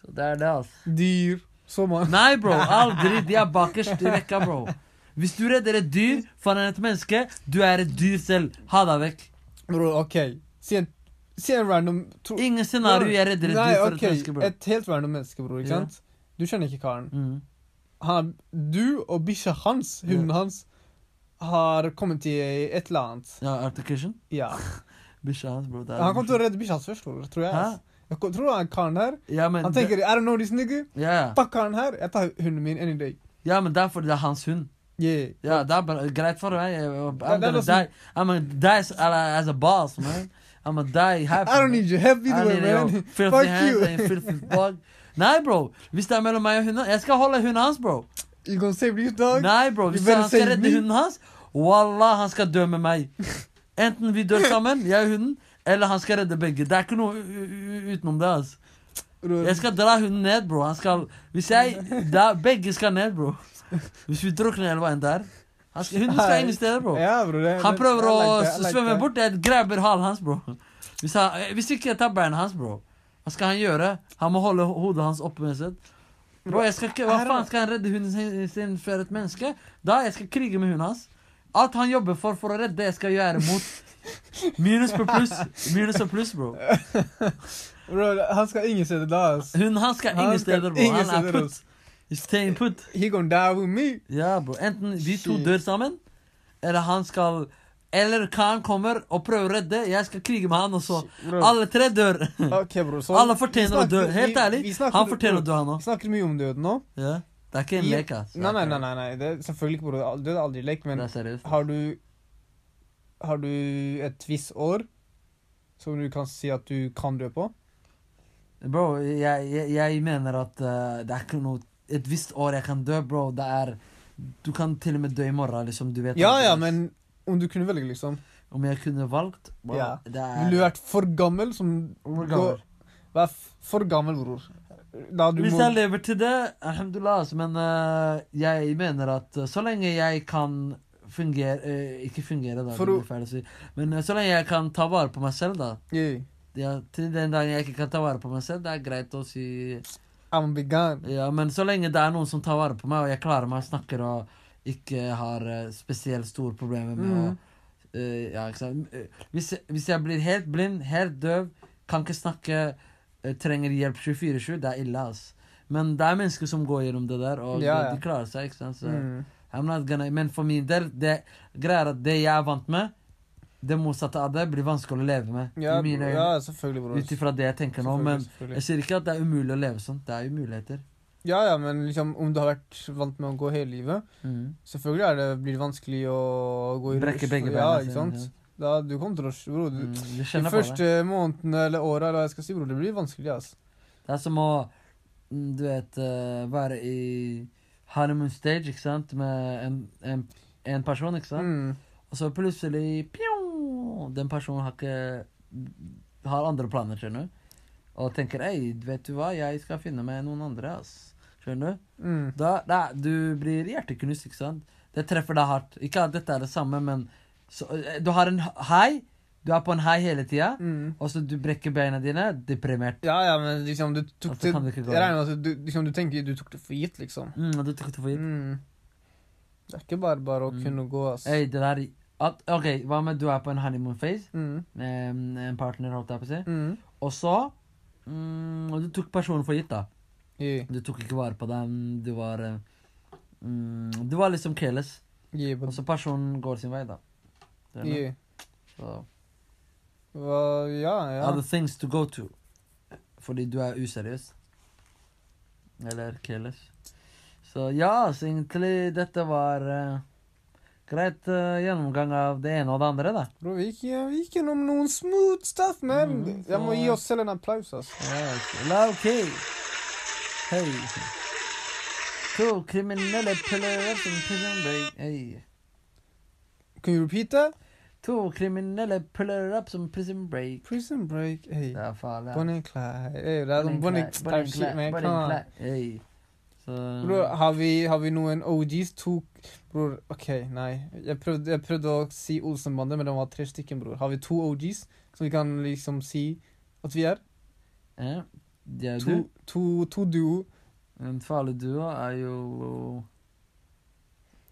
så det er det, altså. dyr, så mann. Nei, bro. Aldri. De er bakerst i rekka, bro. Hvis du redder et dyr foran et menneske, du er et dyr selv. Ha deg vekk. Bror, OK. Si en, si en random tro- Ingen scenario jeg redder et Nei, dyr for ok, et menneske, bro. Et helt random menneske, bror. Ikke Ja. sant? Du kjenner ikke karen. Mm. Han, du og bikkja hans, hunden hans, har kommet i et eller annet. Ja, Articulation. Ja. Bikkja hans, bro. Det er Han kommer til å redde bikkja hans først, bror, tror jeg. Hæ? ass. Jeg ko- tror han karen her ja, men, Han tenker I don't know this nigga. det- ja, ja. Fuck karen her. Jeg tar hunden min any day. ja, men derfor det er hans hund. Yeah. Ja, det er bare greit for meg. Jeg- I'm det er gonna noe som- die. I'm gonna die as, as a boss, man. I'm gonna die happy. I don't need your help I either way, need your man. filthy Fuck hands you. and filthy bug. Nei, bro. Hvis det er mellom meg og hunden Jeg skal holde hunden hans, bro. You gonna save this dog? Nei, bro. You Hvis better han skal save redde me. hunden hans, wallah, han skal dø med meg. Enten vi dør sammen, jeg og hunden, eller han skal redde begge. Det er ikke noe u- u- utenom det. altså. Bror. Jeg skal dra hunden ned, bro. Han skal Hvis jeg da, Begge skal ned, bro. Hvis vi drukner eller hva enn det er. Han skal- Hunden skal ingen steder, bro. Ja, bror. det- Han det- prøver I like å that, I like svømme that. bort. Jeg grabber halen hans, bro. Hvis, han, eh, hvis ikke jeg tar beina hans, bro, hva skal han gjøre? Han må holde ho- hodet hans oppe. med sitt. Bro, jeg skal ikke, Hva Her er- faen skal han redde hunden sin, sin for et menneske? Da jeg skal krige med hunden hans. Alt han jobber for for å redde, jeg skal gjøre mot. Minus på pluss. Minus og pluss, bro. Bro, han skal ingen se det da, ass. Hunden hans skal Han ingen skal steder, bro. ingen Han er steder, altså. put. ass. He's staying put. He gonna die with me. Ja, bro. Enten vi to Shit. dør sammen, eller han skal Eller Khan kommer og prøver å redde. Jeg skal krige med han, og så Bro. Alle tre dør. Ok, bror. Så Alle vi fortjener å snakker- dø. vi- Helt ærlig, vi snakker- han fortjener å dø, han Vi òg. snakker mye om døden nå. Ja. Det er ikke en I- lek, ass. Nei, nei, nei, nei, nei. Det er selvfølgelig ikke, bror. Død er aldri lek, Det men er seriøst. har du Har du et visst år som du kan si at du kan dø på? Bro, jeg, jeg, jeg mener at eh, det er ikke noe Et visst år jeg kan dø, bro. Det er Du kan til og med dø i morgen, liksom. Du vet Ja aldri. ja, men om du kunne velge, liksom. Om jeg kunne valgt bro, Ja. Det Ville du er vært for gammel som Hvor gammel? Vær f- for gammel, bror. Da du Hvis må jeg lever til det, alhamdulillah, altså, men eh, jeg mener at eh, så lenge jeg kan fungere eh, Ikke fungere, da, For det å- blir feil å si, men eh, så lenge jeg kan ta vare på meg selv, da. yeah, Ja, til den dagen jeg ikke kan ta vare på meg selv, det er greit å si I'm be gone. Ja, men så lenge det er noen som tar vare på meg, og jeg klarer meg og snakker og ikke har eh, spesielt store problemer med å Mhm. eh, Ja, ikke sant. Eh, Hvis, jeg- hvis jeg blir helt blind, helt døv, kan ikke snakke, eh, trenger hjelp 24-7, det er ille, ass. Men det er mennesker som går gjennom det der, og Ja, ja. De, de klarer seg, ikke sant. Så, Mm. I'm not gonna, men for min del, det greier at det jeg er vant med, det motsatte av det, blir vanskelig å leve med. Ja, i mine øyne. ja, selvfølgelig, bror. Ut ifra det jeg tenker nå, men Selvfølgelig, selvfølgelig. jeg sier ikke at det er umulig å leve sånn. Det er jo muligheter. Ja, ja, men liksom, om du har vært vant med å gå hele livet Selvfølgelig er det, blir det vanskelig å gå i Brekke rush, begge Ja, beina ikke sine, sant? ja. Da, du kommer til å bro, du, Mm, du De kjenner på det. første månedene eller åra, eller hva jeg skal si, bror, det blir vanskelig, ass. Det er som å mm, du vet, eh, være i honeymoon stage ikke sant? med en, en, en person, ikke sant? Mm. Og så plutselig pjong, Den personen har ikke har andre planer, skjønner du. Og tenker 'ei, vet du hva, jeg skal finne meg noen andre', ass. Skjønner du? Mm. Da, da, du blir hjerteknust, ikke sant? Det treffer deg hardt. Ikke at dette er det samme, men så, eh, du har en hei. Du er på en hei hele tida, Mm. og så du brekker beina dine. Deprimert. Ja, ja, men liksom, du tok Altså, kan det det ikke gå. Jeg regner med at du, liksom, du tenker du tok det for gitt, liksom. Mm, og du tok det for gitt. Mm. Det er ikke bare bare å Mm. kunne gå, ass. Øy, det der at OK, hva med du er på en honeymoon phase Mm. med en partner, holdt jeg på å si, Mm. og så mm, og Du tok personen for gitt, da. Gi, Du tok ikke vare på dem, du var eh, mm, Du var liksom careless. gi på Og så personen går sin vei, da. Skjønner du? gi. Så, Hva- Ja, ja. Other things to go to. Fordi du er useriøs. Eller careless. Så ja, så egentlig dette var eh, greit eh, gjennomgang av det ene og det andre, da. Bro, vi gikk, vi gikk gjennom noen smooth stuff, man. Mhm, Jeg må så- gi oss selv en applaus, ass. La ok. Hei. To kriminelle piller up in prison break. Hey. Can you repeat that? To kriminelle piller up som prison break. Prison break, hey. Det er farlig. ass. Bonnie and Clyde. Hey, det er sånn Bonnie Bonnie and and Clyde Clyde, type shit, man. Bonnie Come and on. ah. Clyde, Hey. Så- Bror, har vi, har vi noen OGs? To Bror, OK, nei. Jeg prøvde, jeg prøvde å si Olsenbandet, men det var tre stykken, bror. Har vi to OGs som vi kan liksom si at vi er? Ja, det er To, du. to, to duo En farlig duo er jo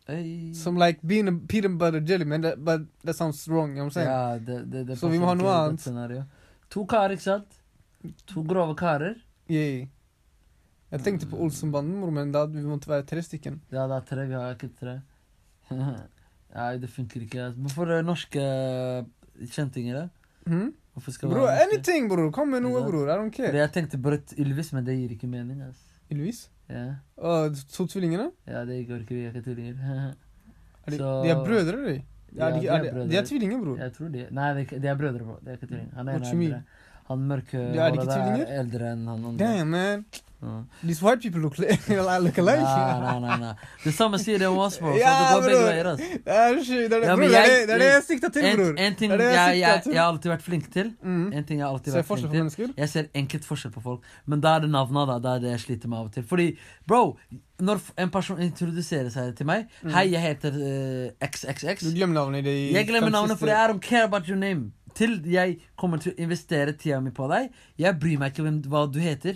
Øy. som like being a peanut butter jelly, man. That, but that sounds wrong, you know what I'm saying? Ja, det, det, det Så vi må ha passer noe ikke i dette annet. scenarioet. To karer, ikke sant? To grove karer. Yay. Jeg tenkte Mm. på Olsenbanden, bror, men da vi måtte være tre stykken. Ja, det er tre. Vi har ikke tre. Nei, det funker ikke. altså. Hvorfor er det norske kjentinger, da? Mhm. Hvorfor skal det Bror, være norske? anything, bror! Kom med noe, Ikke sant? bror. I don't Fordi care. Jeg tenkte Brødt Ylvis, men det gir ikke mening. altså. Ylvis? Ja, Å, to tvillingene? ja det går ikke. Vi er ikke tvillinger. Er de, Så- de er brødre, de? Ja, er de, de er er de, de brødre. er tvillinger, bror. Jeg tror de Nei, det er ikke- de er brødre. bro. De er ikke tvillinger. Han What ene you er mean? eldre. Han mørke De er ikke der tvillinger? er eldre enn han andre. Damn, man. Ja. These white people look, li- look alike. Nei, nei, nei, nei. Det samme sier det om oss, bro. Så Ja, det går begge bror. veier. ass. Det er sjukt. Det er det, Ja, men bror, det, er jeg- det, det er det jeg sikta til, En, bror. en ting Det er jeg, det jeg jeg, sikter jeg, til. har alltid vært flink til Mm. En ting jeg har alltid Ser vært forskjell flink på til mennesker? Jeg ser enkelt forskjell på folk. Men da er det navna, da. Det er det jeg sliter med av og til. Fordi, bro, når f- en person introduserer seg til meg Hei, jeg heter eh, Mm. Du XXX. glemmer navnet i de Jeg glemmer fem navnet, siste- for I don't care about your name. Til jeg kommer til å investere tida mi på deg. Jeg bryr meg ikke hvem, hva du heter.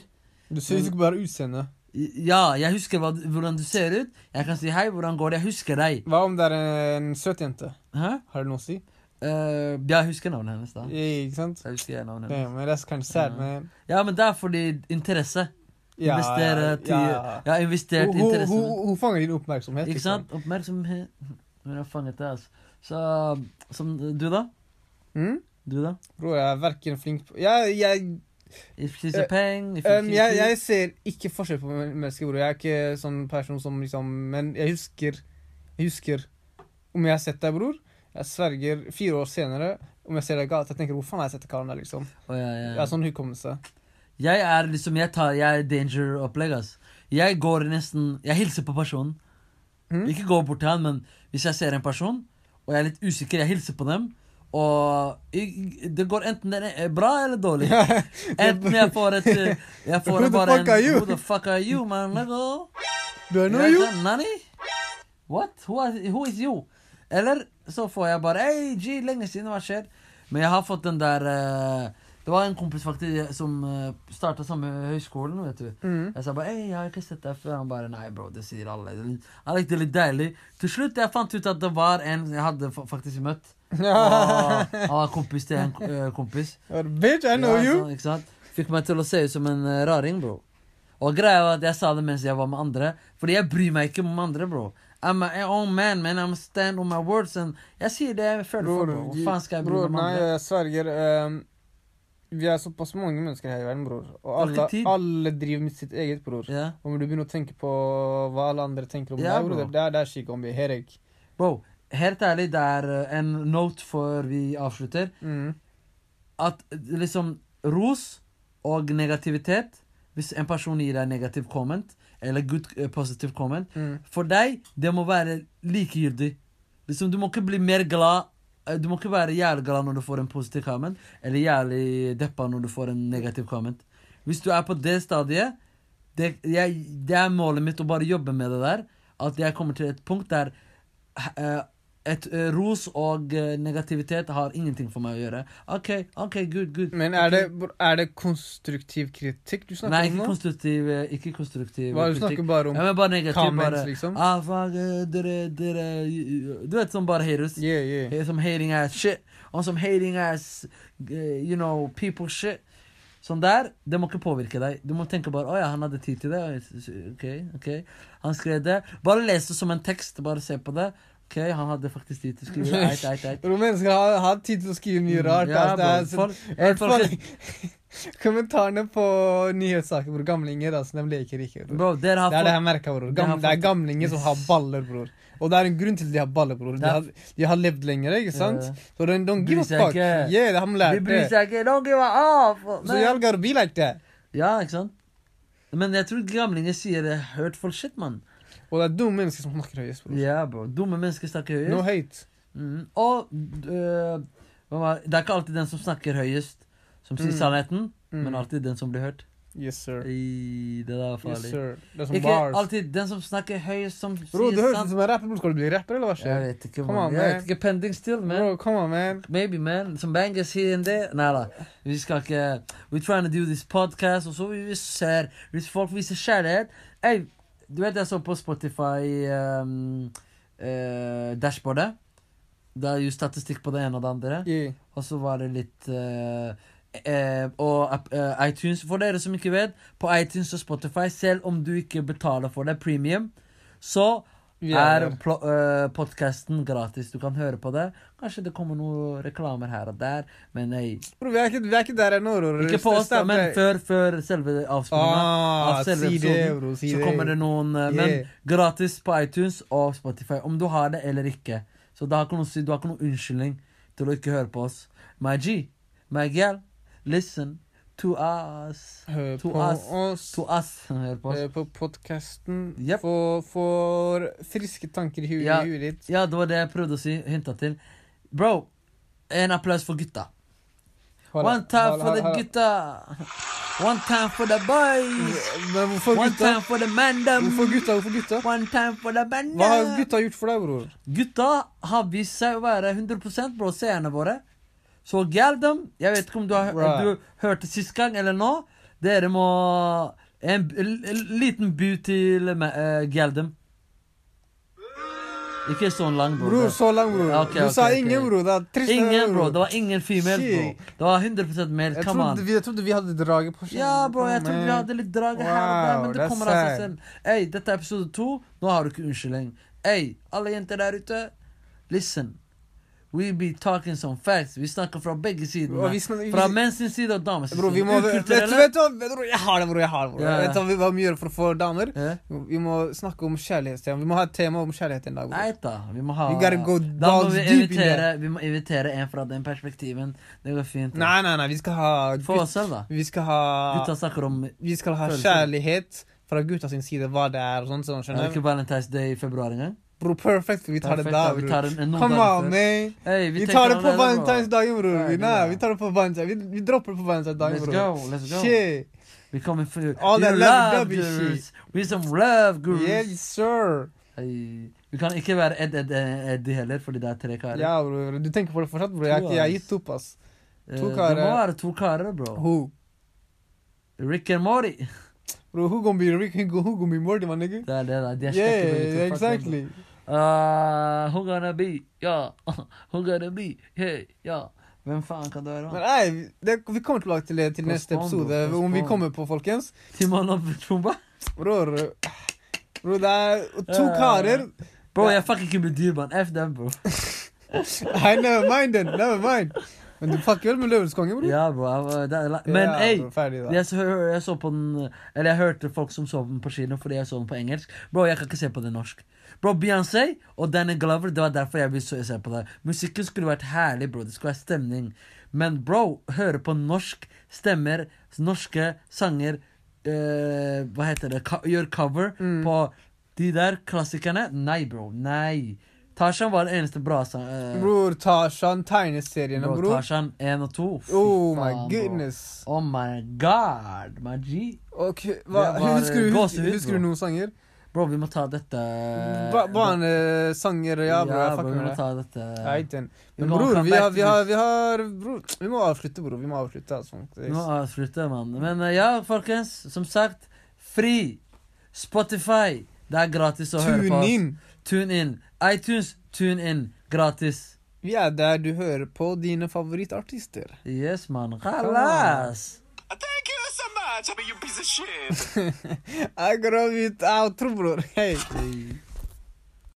Mm. Du ser ikke bare utseendet. Ja, jeg husker hva, hvordan du ser ut. Jeg kan si hei, hvordan går det? Jeg husker deg. Hva om det er en søt jente? Hæ? Har det noe å si? Eh, ja, jeg husker navnet hennes, da. Ja, Ikke sant? Jeg husker jeg navnet hennes. Damn, man, that's kind of sad, Ja. man. Ja, men det er fordi interesse. Ja, Investere til ja. Jeg har investert Hun- hun- interessen. hun- Hun fanger din oppmerksomhet. Ikke liksom. sant? Oppmerksomhet. Hun har fanget det, altså. Så som du, da? Mm? Du, da? Bror, jeg er verken flink på Jeg, jeg, If she's a Eh, peng if um, she's jeg, cute. jeg ser ikke forskjell på men- mennesker, bror. Jeg er ikke sånn person som liksom Men jeg husker Jeg husker om jeg har sett deg, bror. Jeg sverger fire år senere om jeg ser deg i gata. Jeg tenker, hvor faen har jeg sett den karen der, liksom? Å, ja, ja. Jeg har sånn hukommelse. Jeg er liksom Jeg tar Jeg er danger-opplegg, ass. Jeg går nesten Jeg hilser på personen. Mhm. Ikke går bort til han, men hvis jeg ser en person, og jeg er litt usikker, jeg hilser på dem, og jeg, det går enten det er bra eller dårlig. Enten jeg får et eh, Jeg får Who the bare fuck are you? Who the fuck are you, man? Nigga? Do I know Jeg er you? sånn, Nani? What? Who, are, who is you? Eller så får jeg bare Hey, G, lenge siden, hva skjer? Men jeg har fått den der eh, Det var en kompis faktisk som uh, starta samme høyskolen, vet du. Mhm. Jeg sa bare Hei, jeg har ikke sett deg før. Han bare Nei, bro, det sier alle. Han likte det litt deilig. Til slutt jeg fant ut at det var en jeg hadde fa- faktisk møtt. Og han var kompis til en eh, kompis. Or, Bitch, I know Ja, you. sånn, ikke sant? Fikk meg til å se ut som en eh, raring, bro. Og greia var at jeg sa det mens jeg var med andre, fordi jeg bryr meg ikke om andre, bro. I'm my own man, man. I'm stand on my words. And jeg sier det jeg føler for, bro. Hva faen skal jeg bry meg bror, om nei, eh, andre? jeg sverger um, Vi er såpass mange mennesker her i verden, bror. Og har ikke alle, tid. alle driver med sitt eget, bror. Ja. Om du begynner å tenke på hva alle andre tenker om Ja, deg, bror, bro. det, det er- det er skikkombi. Herek. Bro, helt ærlig, det er eh, en note før vi avslutter. Mm. At eh, liksom ros og negativitet Hvis en person gir deg negativ comment, eller good eh, positive comment, Mm. For deg, det må være likegyldig. Liksom, du må ikke bli mer glad eh, Du må ikke være jævlig glad når du får en positiv comment, eller jævlig deppa når du får en negativ comment. Hvis du er på det stadiet det, jeg, det er målet mitt å bare jobbe med det der. At jeg kommer til et punkt der eh, et eh, Ros og eh, negativitet har ingenting for meg å gjøre. OK, ok, good, good. Men er det, er det konstruktiv kritikk du Nei, snakker om ikke nå? konstruktiv, eh, ikke konstruktiv Hva, du kritikk. snakker bare Ja, om men bare negativ. comments, Bare, liksom? ah, fuck, eh, dere, dere Du vet, som bare haters. Yeah, yeah. Hey, Some hating ass shit. On some hating ass eh, You know, people shit. Sånn der, det må ikke påvirke deg. Du må tenke bare 'Å ja, han hadde tid til det'. Ok, ok. Han skrev det. Bare les det som en tekst. Bare se på det. Ok, han hadde faktisk tid til å skrive det. Eit, eit, eit. Bro, mennesker har, har tid til å skrive mye rart. Mm, Ja, ass. Det er bro, så- folk- I hvert folk- fall- Kommentarene på nyhetssaker, bror. Gamlinger, altså. De leker ikke. Bror. Bro, dere har Det er det fått jeg merker, bror. det har Gam, det er fått- gamlinger som har baller, bror. Og det er en grunn til at de har baller, bror. De Det er- har, de har levd lenger, ikke sant? Ja. Så de don't give Bryr a seg fuck. ikke. Yeah, de har De lært bryr det. seg ikke. Don't give a off. So y'all gotta be like that. Ja, ikke sant? Men jeg tror gamlinger sier det er hurtful shit, mann. Og det er dumme mennesker som snakker høyest, bror. Ja, bro. Dumme mennesker snakker høyest. No hate. Mm. Og øh, hva var- det er ikke alltid den som snakker høyest, som sier Mm. sannheten, Mm. men alltid den som blir hørt. Yes, sir. I, det der var Yes, farlig. sir. Det er som ikke bars. alltid den som snakker høyest, som Bro, du sier høres ut sant. som en rapper. bror. Skal du bli rapper, eller hva Jeg skjer? vet ikke, Come on, man. Jeg man. vet ikke. Pending still, man. Bro, come on, man. Maybe, man. Som bangers here and there. Nei da. Vi skal ikke We're uh, trying to do this podcast, og så vi vi ser Hvis folk viser kjærlighet Ey, du vet jeg så på Spotify um, eh, dashboardet? Det er jo statistikk på det ene og det andre. Yeah. Og så var det litt eh, eh, Og app- eh, iTunes For dere som ikke vet, på iTunes og Spotify, selv om du ikke betaler for det, premium, så Vi er er pl podkasten gratis. Du kan høre på det. Kanskje det kommer noen reklamer her og der, men nei. Bro, vi er ikke, vi er ikke der ennå, bror. Ikke på oss, da, Stem men deg. før, før selve avspillinga. Ah, av selve si det, episoden, bro. Si Så det. kommer det noen eh, Men Yeah. gratis på iTunes og Spotify, om du har det eller ikke. Så det har ikke noe å si, du har ikke noen unnskyldning til å ikke høre på oss. My G, my girl, listen to us. Hør To på us. oss. To us. Hør på oss. Hør på podkasten. Yep. Få, få friske tanker i huet Ja. i huet ditt. Ja, det var det jeg prøvde å si. Hinta til. Bro, en applaus for gutta. Voilà. One time Voilà, for the voilà. gutta. One time for the boys. Men hvorfor One gutta? time for the mandem. Hvorfor gutta? Hvorfor gutta? One time for the bandem. Hva har gutta gjort for deg, bror? Gutta har vist seg å være 100 bro, seerne våre. Så Galdem, jeg vet ikke om du har Right. du hørte sist gang eller nå. Dere må En b- l- l- liten bu til uh, Galdem. Ikke sånn lang, bro. Bror, Det- så lang, bror. Ja, ok, du sa ok, ok. ingen, bror. Det er trist. å høre, Ingen, bro. Det var ingen female, Shit. bro. Det var 100 male. Jeg Come on. trodde, vi, jeg trodde vi hadde draget på skjermen. Ja, bro, jeg Come trodde on, vi man. hadde litt drag her og der, Wow, men det that's kommer av seg sad. selv. Ey, dette er episode to. Nå har du ikke unnskyldning. Ey, alle jenter der ute, listen. We be talking some facts. Vi snakker fra begge Og vi sidene. snakker- Fra menns sin side og damens sin eh, Bro, vi side. må, vet, vet, du- Ukulturelle. vet du hva? Bror, Jeg har det, bror. Jeg har det, bror. Ja, ja. Vet du hva vi- hva vi gjør for å få damer? Ja. Vi må snakke om kjærlighetstema. Vi må ha et tema om kjærlighet en dag. bror. Nei da, vi må ha We gotta go Da må dogs vi deep in invitere, vi må invitere en fra den perspektiven. Det går fint. da. Nei, nei, nei, vi skal ha For gutt, oss selv, da. Vi skal ha Gutta snakker om Er Vi skal ha følelser. kjærlighet fra gutta sin side, hva det er og sånn. sånn det skjønner ikke jeg. Valentine's Day i februar engang? Bro, perfect. Vi tar det Perfekt, da, da. Vi tar bror. den noen Come dager on, før. man. Ey, Vi tenker tar det allerede, på bro. valentinsdagen, bror. Ferdig, Nei, da. vi tar det på valentines. Vi, vi dropper det på valentinsdagen, Let's bror. go, let's go. Shit. We coming for you. All that you lovey-dovey girls. We some love girls. Yes, sir. Ei, Vi kan ikke være Ed, Ed, Ed, Eddie heller, fordi det er tre karer. Ja, bror. Du tenker på det fortsatt, bror. Jeg, har ikke- jeg har gitt opp, ass. Eh, to Det karer. må være to karer, bro. Who? Rick and Morty. Bro, who gonna be Rick? Who who gonna be Morty, my nigga? Det er det, da. De er skrekke begge to, Yeah, fuck them, bro. exactly. Ah, who gonna be? Ja. Who gonna be? Hey, ja. Hvem faen kan det være? Men man? nei, det, vi kommer tilbake til det til neste Postpone, bro. episode, eh, om vi Postpone. kommer på, folkens. Timon og Pumba? Bror, bror det er to Ja. karer Bro, jeg fucker ikke med dyr, mann. F dem, bro. Nei, never mind den. Never mind. Men du fucker vel med Løvens konge, bror? Ja, bro. jeg var- det er la- Men Ja, ey, bror, ferdig, da. Jeg så, jeg så på den Eller jeg hørte folk som så den på kino fordi jeg så den på engelsk. Bro, jeg kan ikke se på den norsk. Bro, Beyoncé og Danny Glover, det var derfor jeg ville så- se på det. Musikken skulle vært herlig, bro. Det skulle være stemning. Men bro, høre på norsk stemmer, norske sanger eh, Hva heter det? Co gjør cover Mm. på de der klassikerne. Nei, bro. Nei. Tarzan var den eneste bra sang... eh, Bror, Tarzan, tegneseriene, bro, bror. Tarzan 1 og 2. Fy Oh my faen, bro. goodness. Oh my god, my G. Ok, hva, Det var, husker, du, eh, husker, gåsehud, husker du bror. noen sanger? Bro, vi må ta dette Ba- eh, Barnesanger, ja, bro. Jeg bro, fucker vi må med det. ta dette Jeg er ikke enig. Vi Men må bror, come vi back har, to vi har, vi har bror, Vi må avslutte, bror. Vi må avslutte. Altså. Vi må avslutte, mann. Men eh, ja, folkens, som sagt, fri! Spotify! Det er gratis å høre på. altså. Tune oss. in! Tune in. iTunes, tune in. Gratis. Vi er der du hører på dine favorittartister. Yes, mann. Halas! Thank you so much. I mean, you piece of shit. Akkurat mitt outro, bror. Hei. Hey.